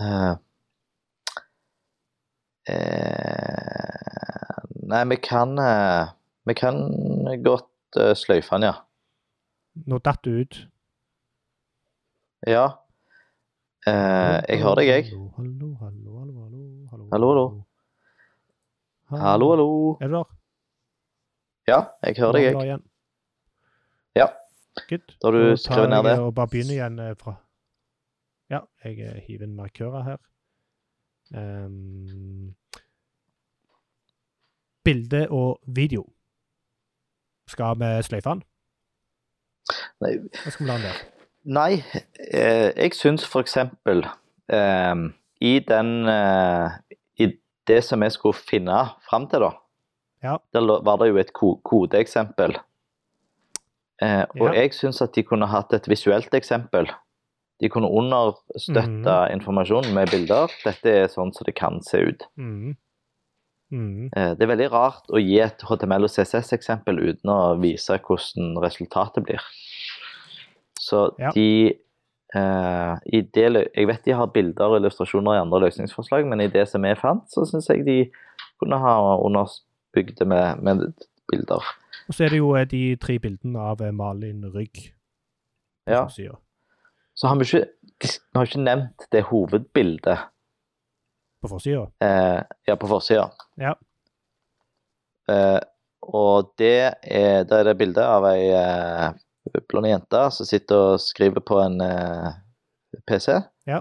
Speaker 2: Eh, eh, nei, vi kan eh, Vi kan godt eh, sløyfe den, ja.
Speaker 1: Nå datt du ut.
Speaker 2: Ja. Eh, jeg hører deg, jeg.
Speaker 1: Hallo, hallo, hallo, hallo. Hallo,
Speaker 2: Hallo, hallo. Hallo, hallo.
Speaker 1: Er du der?
Speaker 2: Ja, jeg hører
Speaker 1: Nå er
Speaker 2: deg, jeg.
Speaker 1: du der igjen.
Speaker 2: Ja.
Speaker 1: Good.
Speaker 2: Da har du
Speaker 1: tar
Speaker 2: skrevet
Speaker 1: jeg
Speaker 2: ned det.
Speaker 1: Og bare begynner igjen eh, fra Ja, jeg eh, hiver inn markører her. Ehm, bilde og video. Skal vi sløyfe den?
Speaker 2: Nei.
Speaker 1: Hva skal vi la den der?
Speaker 2: Nei, eh, jeg syns for eksempel eh, i den eh, I det som jeg skulle finne fram til, da,
Speaker 1: Ja.
Speaker 2: der lå- var det jo et ko kodeeksempel. Eh, og
Speaker 1: Ja.
Speaker 2: jeg syns at de kunne hatt et visuelt eksempel. De kunne understøtte informasjonen med bilder. Dette er sånn som det kan se ut.
Speaker 1: Mhm. Mhm.
Speaker 2: Eh, Det er veldig rart å gi et HTML- og CSS-eksempel uten å vise hvordan resultatet blir. Så
Speaker 1: Ja.
Speaker 2: de eh, i det, lø- Jeg vet de har bilder og illustrasjoner i andre løsningsforslag, men i det som jeg fant, så syns jeg de kunne ha underbygd det med, med bilder.
Speaker 1: Og så er det jo eh, de tre bildene av eh, Malin Rygg. på
Speaker 2: Ja.
Speaker 1: forsiden.
Speaker 2: Så har vi ikke, de har ikke nevnt det hovedbildet
Speaker 1: På forsida.
Speaker 2: eh, ja, på forsida.
Speaker 1: Ja.
Speaker 2: Eh, og det er, da er det bilde av ei eh, blond jente som sitter og skriver på en eh, PC.
Speaker 1: Ja.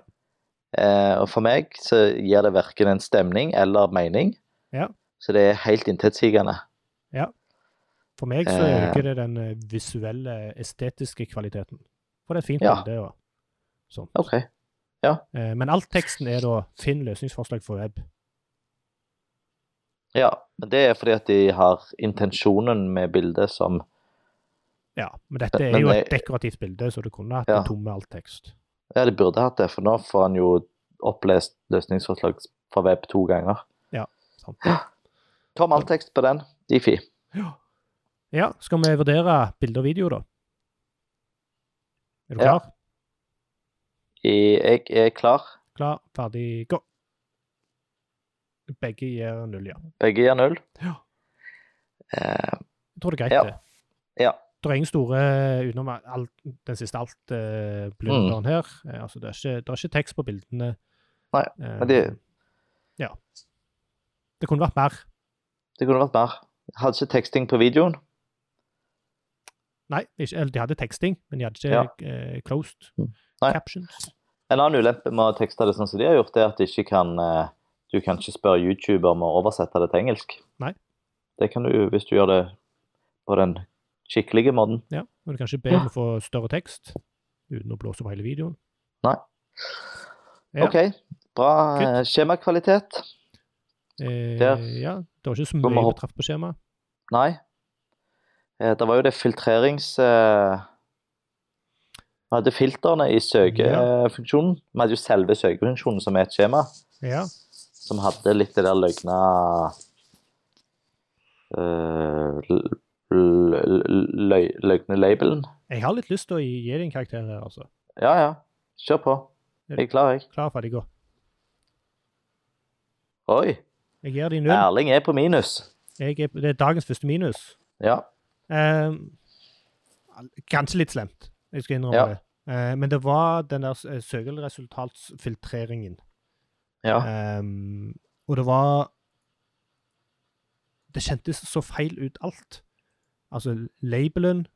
Speaker 2: Eh, og for meg så gir det verken en stemning eller mening.
Speaker 1: Ja.
Speaker 2: Så det er helt intetsigende.
Speaker 1: For meg så
Speaker 2: Eh.
Speaker 1: øker det den eh, visuelle, estetiske kvaliteten. For det er et fint
Speaker 2: Ja.
Speaker 1: bilde. og sånt.
Speaker 2: OK.
Speaker 1: Eh, Men alt teksten er da 'finn løsningsforslag for web'.
Speaker 2: Ja, men det er fordi at de har intensjonen med bildet som
Speaker 1: Ja, men dette er
Speaker 2: Men
Speaker 1: jo
Speaker 2: det-
Speaker 1: et dekorativt bilde, så du kunne hatt
Speaker 2: Ja.
Speaker 1: en tom med alt tekst.
Speaker 2: Ja, de burde hatt det, for nå får han jo opplest løsningsforslag fra web to ganger.
Speaker 1: Sant?
Speaker 2: Tom Alltekst på den. Difi.
Speaker 1: Ja, skal vi vurdere bilde og video, da? Er du
Speaker 2: Ja.
Speaker 1: klar?
Speaker 2: Jeg er klar.
Speaker 1: Klar, ferdig, gå! Begge gir null, ja.
Speaker 2: Begge gir null.
Speaker 1: Ja.
Speaker 2: Eh,
Speaker 1: Jeg tror det er greit,
Speaker 2: Ja.
Speaker 1: det.
Speaker 2: Ja.
Speaker 1: Det er ingen store eh, utenom alt, den siste
Speaker 2: Mm.
Speaker 1: alt-blunderen her. Eh, Altså, det er, ikke, det er ikke tekst på bildene.
Speaker 2: Nei,
Speaker 1: Eh,
Speaker 2: men det-
Speaker 1: Ja. Det kunne vært mer.
Speaker 2: det kunne vært mer. Hadde ikke teksting på videoen.
Speaker 1: Nei, ikke, eller de hadde teksting, men de hadde ikke
Speaker 2: Ja.
Speaker 1: eh, closed
Speaker 2: Mm. Nei.
Speaker 1: captions.
Speaker 2: En annen ulempe med å tekste det sånn som de har gjort, er at de ikke kan, eh, du kan ikke spørre YouTube om å oversette det til engelsk.
Speaker 1: Nei.
Speaker 2: Det kan du hvis du gjør det på den skikkelige måten.
Speaker 1: Ja, men du kan ikke be om å få større tekst uten å blåse opp hele videoen.
Speaker 2: Nei.
Speaker 1: Ja.
Speaker 2: OK, bra eh, skjemakvalitet.
Speaker 1: Eh,
Speaker 2: Der.
Speaker 1: ja, det var ikke så
Speaker 2: må vi
Speaker 1: mye
Speaker 2: hoppe-
Speaker 1: betreff på skjemaet.
Speaker 2: Nei. Eh, Det var jo det filtrerings... eh, Vi hadde filtrene i søkefunksjonen. Vi hadde jo selve søkefunksjonen, som er et skjema,
Speaker 1: Ja.
Speaker 2: som hadde litt det der løgna øh, l- l- l- løy- Løgne labelen.
Speaker 1: Jeg har litt lyst til å gi gi deg en karakter her, altså.
Speaker 2: Ja, ja. Kjør på. Jeg er klar, jeg.
Speaker 1: Klar, ferdig, gå.
Speaker 2: Oi.
Speaker 1: Jeg gir deg null.
Speaker 2: Erling er på minus.
Speaker 1: Jeg er, det er dagens første minus.
Speaker 2: Ja.
Speaker 1: Eh, kanskje litt slemt, jeg skal innrømme
Speaker 2: Ja.
Speaker 1: det. Eh, men det var den der eh, søkelresultatsfiltreringen.
Speaker 2: ja.
Speaker 1: Ehm, og det var Det kjentes så feil ut alt. Altså, labelen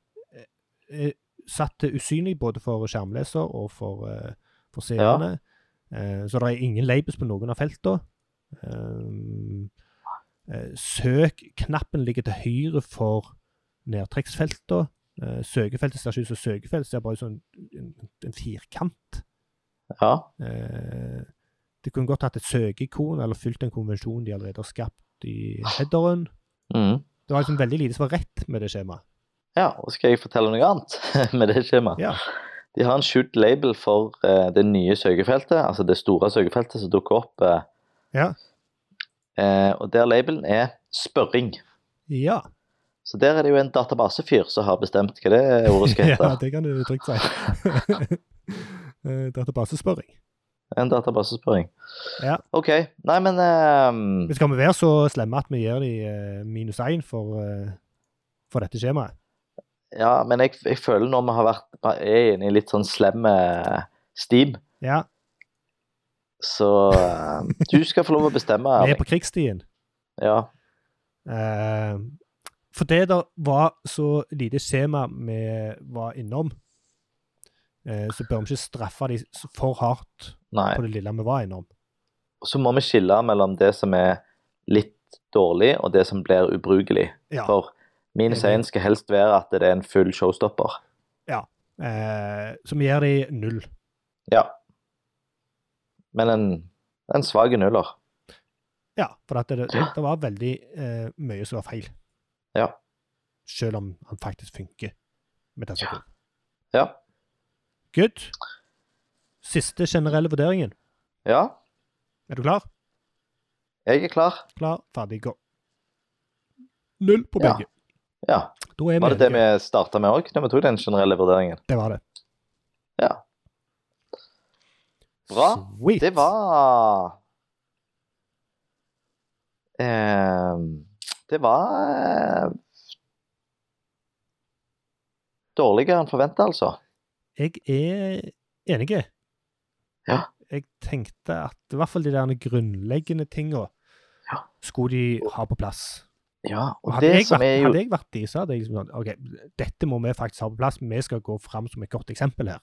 Speaker 1: eh, eh, satt til usynlig både for skjermleser og for, eh, for seerne. Eh, så det er ingen labels på noen av feltene. Ehm, eh, Søk-knappen ligger til høyre for nedtrekksfeltene. Eh, søkefeltet ser ikke ut som søkefelt, det ser bare ut som en, en, en firkant.
Speaker 2: ja.
Speaker 1: Eh, de kunne godt hatt et søkeikon eller fylt en konvensjon de allerede har skapt i headeren.
Speaker 2: Mm.
Speaker 1: Det var liksom veldig lite som var rett med det skjemaet.
Speaker 2: Ja, og skal jeg fortelle noe annet med det skjemaet?
Speaker 1: Ja.
Speaker 2: De har en skjult label for eh, det nye søkefeltet, altså det store søkefeltet som dukker opp. eh.
Speaker 1: Ja.
Speaker 2: Eh, og der labelen er spørring.
Speaker 1: Ja,
Speaker 2: Så der er det jo en databasefyr som har bestemt hva det ordet skal hete.
Speaker 1: ja det kan du trygt si. Eh, Databasespørring.
Speaker 2: En databasespørring.
Speaker 1: Ja.
Speaker 2: OK. Nei, men ehm,
Speaker 1: Men skal vi være så slemme at vi gir de eh, minus én for, eh, for dette skjemaet?
Speaker 2: Ja, men jeg, jeg føler når vi har vært er inne i litt sånn slem eh, stim,
Speaker 1: Ja,
Speaker 2: så eh, du skal få lov å bestemme.
Speaker 1: vi er
Speaker 2: Erling.
Speaker 1: på krigsstien.
Speaker 2: Ja.
Speaker 1: Eh, for det der var så lite skjema vi var innom, eh, så bør vi ikke straffe de s- for hardt
Speaker 2: Nei.
Speaker 1: på det lille vi var innom.
Speaker 2: Og så må vi skille mellom det som er litt dårlig, og det som blir ubrukelig.
Speaker 1: Ja.
Speaker 2: For minus
Speaker 1: Enig.
Speaker 2: én skal helst være at det er en full showstopper.
Speaker 1: Eh, som gir de null.
Speaker 2: Ja. Men en, en svak nuller.
Speaker 1: Ja, for at det, det var veldig eh, mye som var feil.
Speaker 2: Ja.
Speaker 1: Selv om han faktisk funker med tastatur.
Speaker 2: Ja.
Speaker 1: Good. Siste generelle vurderingen.
Speaker 2: ja.
Speaker 1: Er du klar?
Speaker 2: Jeg er klar.
Speaker 1: Klar, ferdig, gå. Null på
Speaker 2: Ja.
Speaker 1: begge.
Speaker 2: Ja.
Speaker 1: Da er
Speaker 2: Var det det
Speaker 1: enige.
Speaker 2: vi starta med òg, når vi tok den generelle vurderingen?
Speaker 1: Det var det.
Speaker 2: Ja. Bra.
Speaker 1: Sweet.
Speaker 2: Det var Ehm, Det var eh, Dårligere enn forventa, altså.
Speaker 1: Jeg er enig.
Speaker 2: Ja.
Speaker 1: Jeg tenkte at i hvert fall de der grunnleggende tinga
Speaker 2: Ja.
Speaker 1: skulle de ha på plass.
Speaker 2: Ja,
Speaker 1: Og
Speaker 2: og
Speaker 1: hadde,
Speaker 2: det
Speaker 1: jeg
Speaker 2: som
Speaker 1: vært,
Speaker 2: er jo
Speaker 1: hadde jeg vært de, så hadde jeg liksom sånn OK, dette må vi faktisk ha på plass. Vi skal gå fram som et godt eksempel her.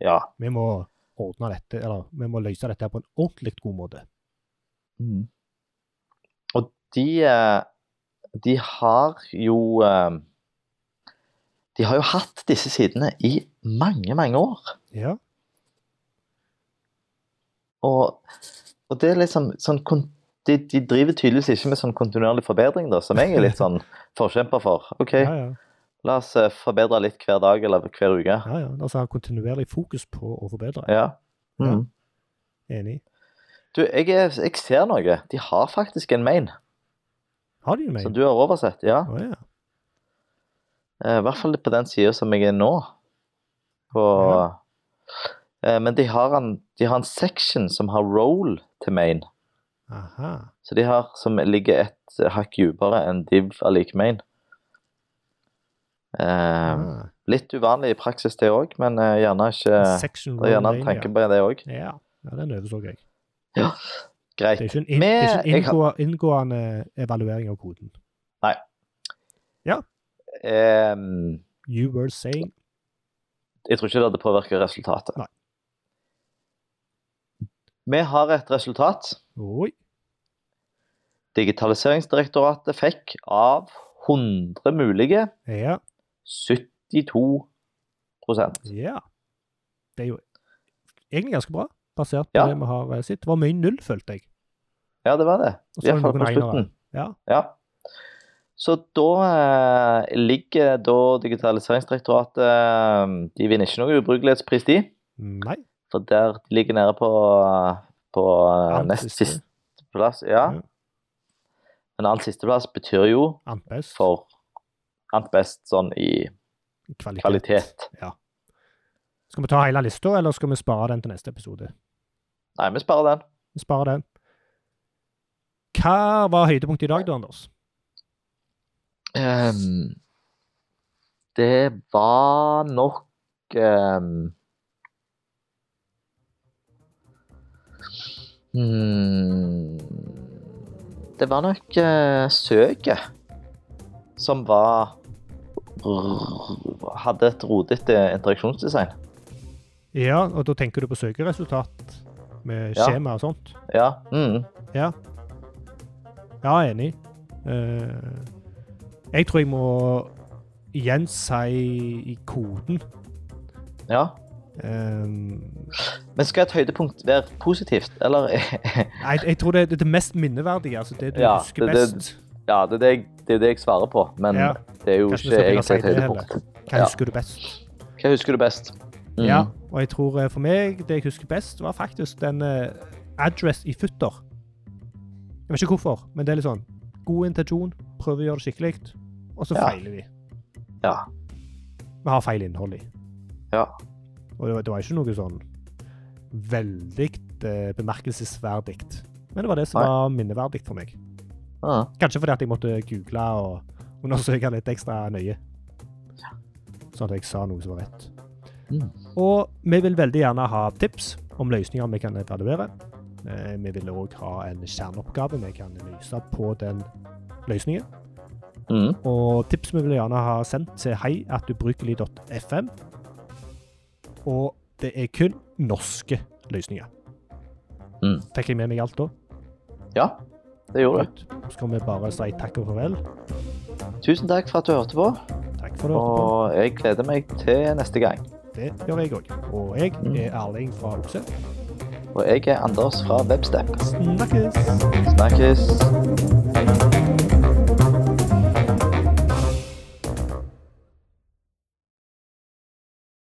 Speaker 2: Ja.
Speaker 1: Vi må ordne dette, eller vi må løse dette her på en ordentlig god måte.
Speaker 2: Mm. Og de eh, De har jo eh, De har jo hatt disse sidene i mange, mange år.
Speaker 1: Ja.
Speaker 2: Og, og det er liksom sånn kon- de, de driver tydeligvis ikke med sånn kontinuerlig forbedring, da, som jeg er litt sånn forkjemper for. OK,
Speaker 1: ja, ja.
Speaker 2: la oss eh, forbedre litt hver dag eller hver uke.
Speaker 1: ja, ja. Altså ha kontinuerlig fokus på å forbedre.
Speaker 2: Ja. Mm.
Speaker 1: Enig.
Speaker 2: Du, jeg, er, jeg ser noe. De har faktisk en main,
Speaker 1: Har de en
Speaker 2: som
Speaker 1: mail?
Speaker 2: du har oversett. Ja.
Speaker 1: Å ja.
Speaker 2: Eh, I hvert fall på den sida som jeg er nå. På, eh, men de har, en, de har en section som har roll til main.
Speaker 1: Aha.
Speaker 2: Så de har som ligger et hakk dypere enn div er lik main. Eh,
Speaker 1: Ah.
Speaker 2: litt uvanlig i praksis, det òg, men eh, gjerne ikke
Speaker 1: Section
Speaker 2: Det er gjerne
Speaker 1: roll
Speaker 2: en
Speaker 1: mail,
Speaker 2: tanke på det òg.
Speaker 1: ja. ja. ja, den overså jeg.
Speaker 2: Greit.
Speaker 1: Det er ikke en, inn, det er ikke en inngå, inngående evaluering av koden.
Speaker 2: Ehm,
Speaker 1: You were saying
Speaker 2: jeg tror ikke det hadde påvirket resultatet.
Speaker 1: Nei.
Speaker 2: Vi har et resultat.
Speaker 1: Oi.
Speaker 2: Digitaliseringsdirektoratet fikk av 100 mulige
Speaker 1: Ja.
Speaker 2: 72
Speaker 1: Ja. Det er jo egentlig ganske bra, basert på
Speaker 2: Ja.
Speaker 1: det vi har eh, sett. Det var mye null, følte jeg.
Speaker 2: Ja, det var det.
Speaker 1: Og så
Speaker 2: I hvert
Speaker 1: var det
Speaker 2: fall på
Speaker 1: noen einere.
Speaker 2: slutten.
Speaker 1: Ja.
Speaker 2: Ja. Så da eh, ligger da Digitaliseringsdirektoratet eh, De vinner ikke noe ubrukelighetspris, de.
Speaker 1: Nei.
Speaker 2: For der de ligger nede på, på eh,
Speaker 1: Annet
Speaker 2: nest
Speaker 1: siste.
Speaker 2: siste plass. Ja.
Speaker 1: Ja.
Speaker 2: Men alt siste plass betyr jo
Speaker 1: Annet best.
Speaker 2: for annet best sånn i
Speaker 1: kvalitet.
Speaker 2: kvalitet.
Speaker 1: Skal vi ta hele lista, eller skal vi spare den til neste episode?
Speaker 2: Nei, vi sparer den.
Speaker 1: Vi sparer den. Hva var høydepunktet i dag, da, Anders?
Speaker 2: Ehm, det var nok ehm, hmm, Det var nok eh, søket som var Hadde et rodete interaksjonsdesign.
Speaker 1: Ja, og da tenker du på søkeresultat med
Speaker 2: Ja.
Speaker 1: skjema og sånt?
Speaker 2: Ja. Mm.
Speaker 1: Ja, enig. Eh, jeg tror jeg må igjen si i koden.
Speaker 2: ja.
Speaker 1: Eh,
Speaker 2: Men skal et høydepunkt være positivt, eller
Speaker 1: jeg, jeg tror det er det mest minneverdige, altså det du
Speaker 2: Ja,
Speaker 1: husker
Speaker 2: det- det-
Speaker 1: best.
Speaker 2: Ja, det er det jeg, det er det jeg svarer på, men
Speaker 1: Ja.
Speaker 2: det er jo
Speaker 1: Kanskje vi
Speaker 2: ikke
Speaker 1: skal begynne å si
Speaker 2: egentlig et
Speaker 1: det
Speaker 2: høydepunkt.
Speaker 1: Hva
Speaker 2: Ja.
Speaker 1: husker du best?
Speaker 2: Hva husker du best? Mm.
Speaker 1: Ja, og jeg tror eh, for meg det jeg husker best, var faktisk den eh, address i futter. Jeg vet ikke hvorfor, men det er litt sånn god intensjon, prøver å gjøre det skikkelig, og så
Speaker 2: Ja.
Speaker 1: feiler vi.
Speaker 2: Ja.
Speaker 1: Vi har feil innhold i.
Speaker 2: Ja.
Speaker 1: Og det var, det var ikke noe sånn veldig eh, bemerkelsesverdig. Men det var det som
Speaker 2: Nei.
Speaker 1: var minneverdig for meg.
Speaker 2: Ja.
Speaker 1: Kanskje fordi at jeg måtte google og undersøke litt ekstra nøye. Sånn at jeg sa noe som var rett.
Speaker 2: Mm.
Speaker 1: Og vi vil veldig gjerne ha tips om løsninger vi kan evaluere. Eh, Vi vil òg ha en kjerneoppgave vi kan løse på den løsningen.
Speaker 2: Mm.
Speaker 1: Og tips vi vil gjerne ha sendt til heiatdubrukelig.fm. Og det er kun norske løsninger.
Speaker 2: Mm.
Speaker 1: Fikk jeg med meg alt da?
Speaker 2: ja, det gjorde du.
Speaker 1: Godt. Så kan vi bare si takk og farvel.
Speaker 2: Tusen takk for at du hørte på,
Speaker 1: Takk for det. Otto.
Speaker 2: og jeg gleder meg til neste gang.
Speaker 1: Det gjør jeg òg. Og jeg er Erling fra Okse.
Speaker 2: Og jeg er Anders fra Webstep.
Speaker 1: Snakkes!
Speaker 2: Snakkes.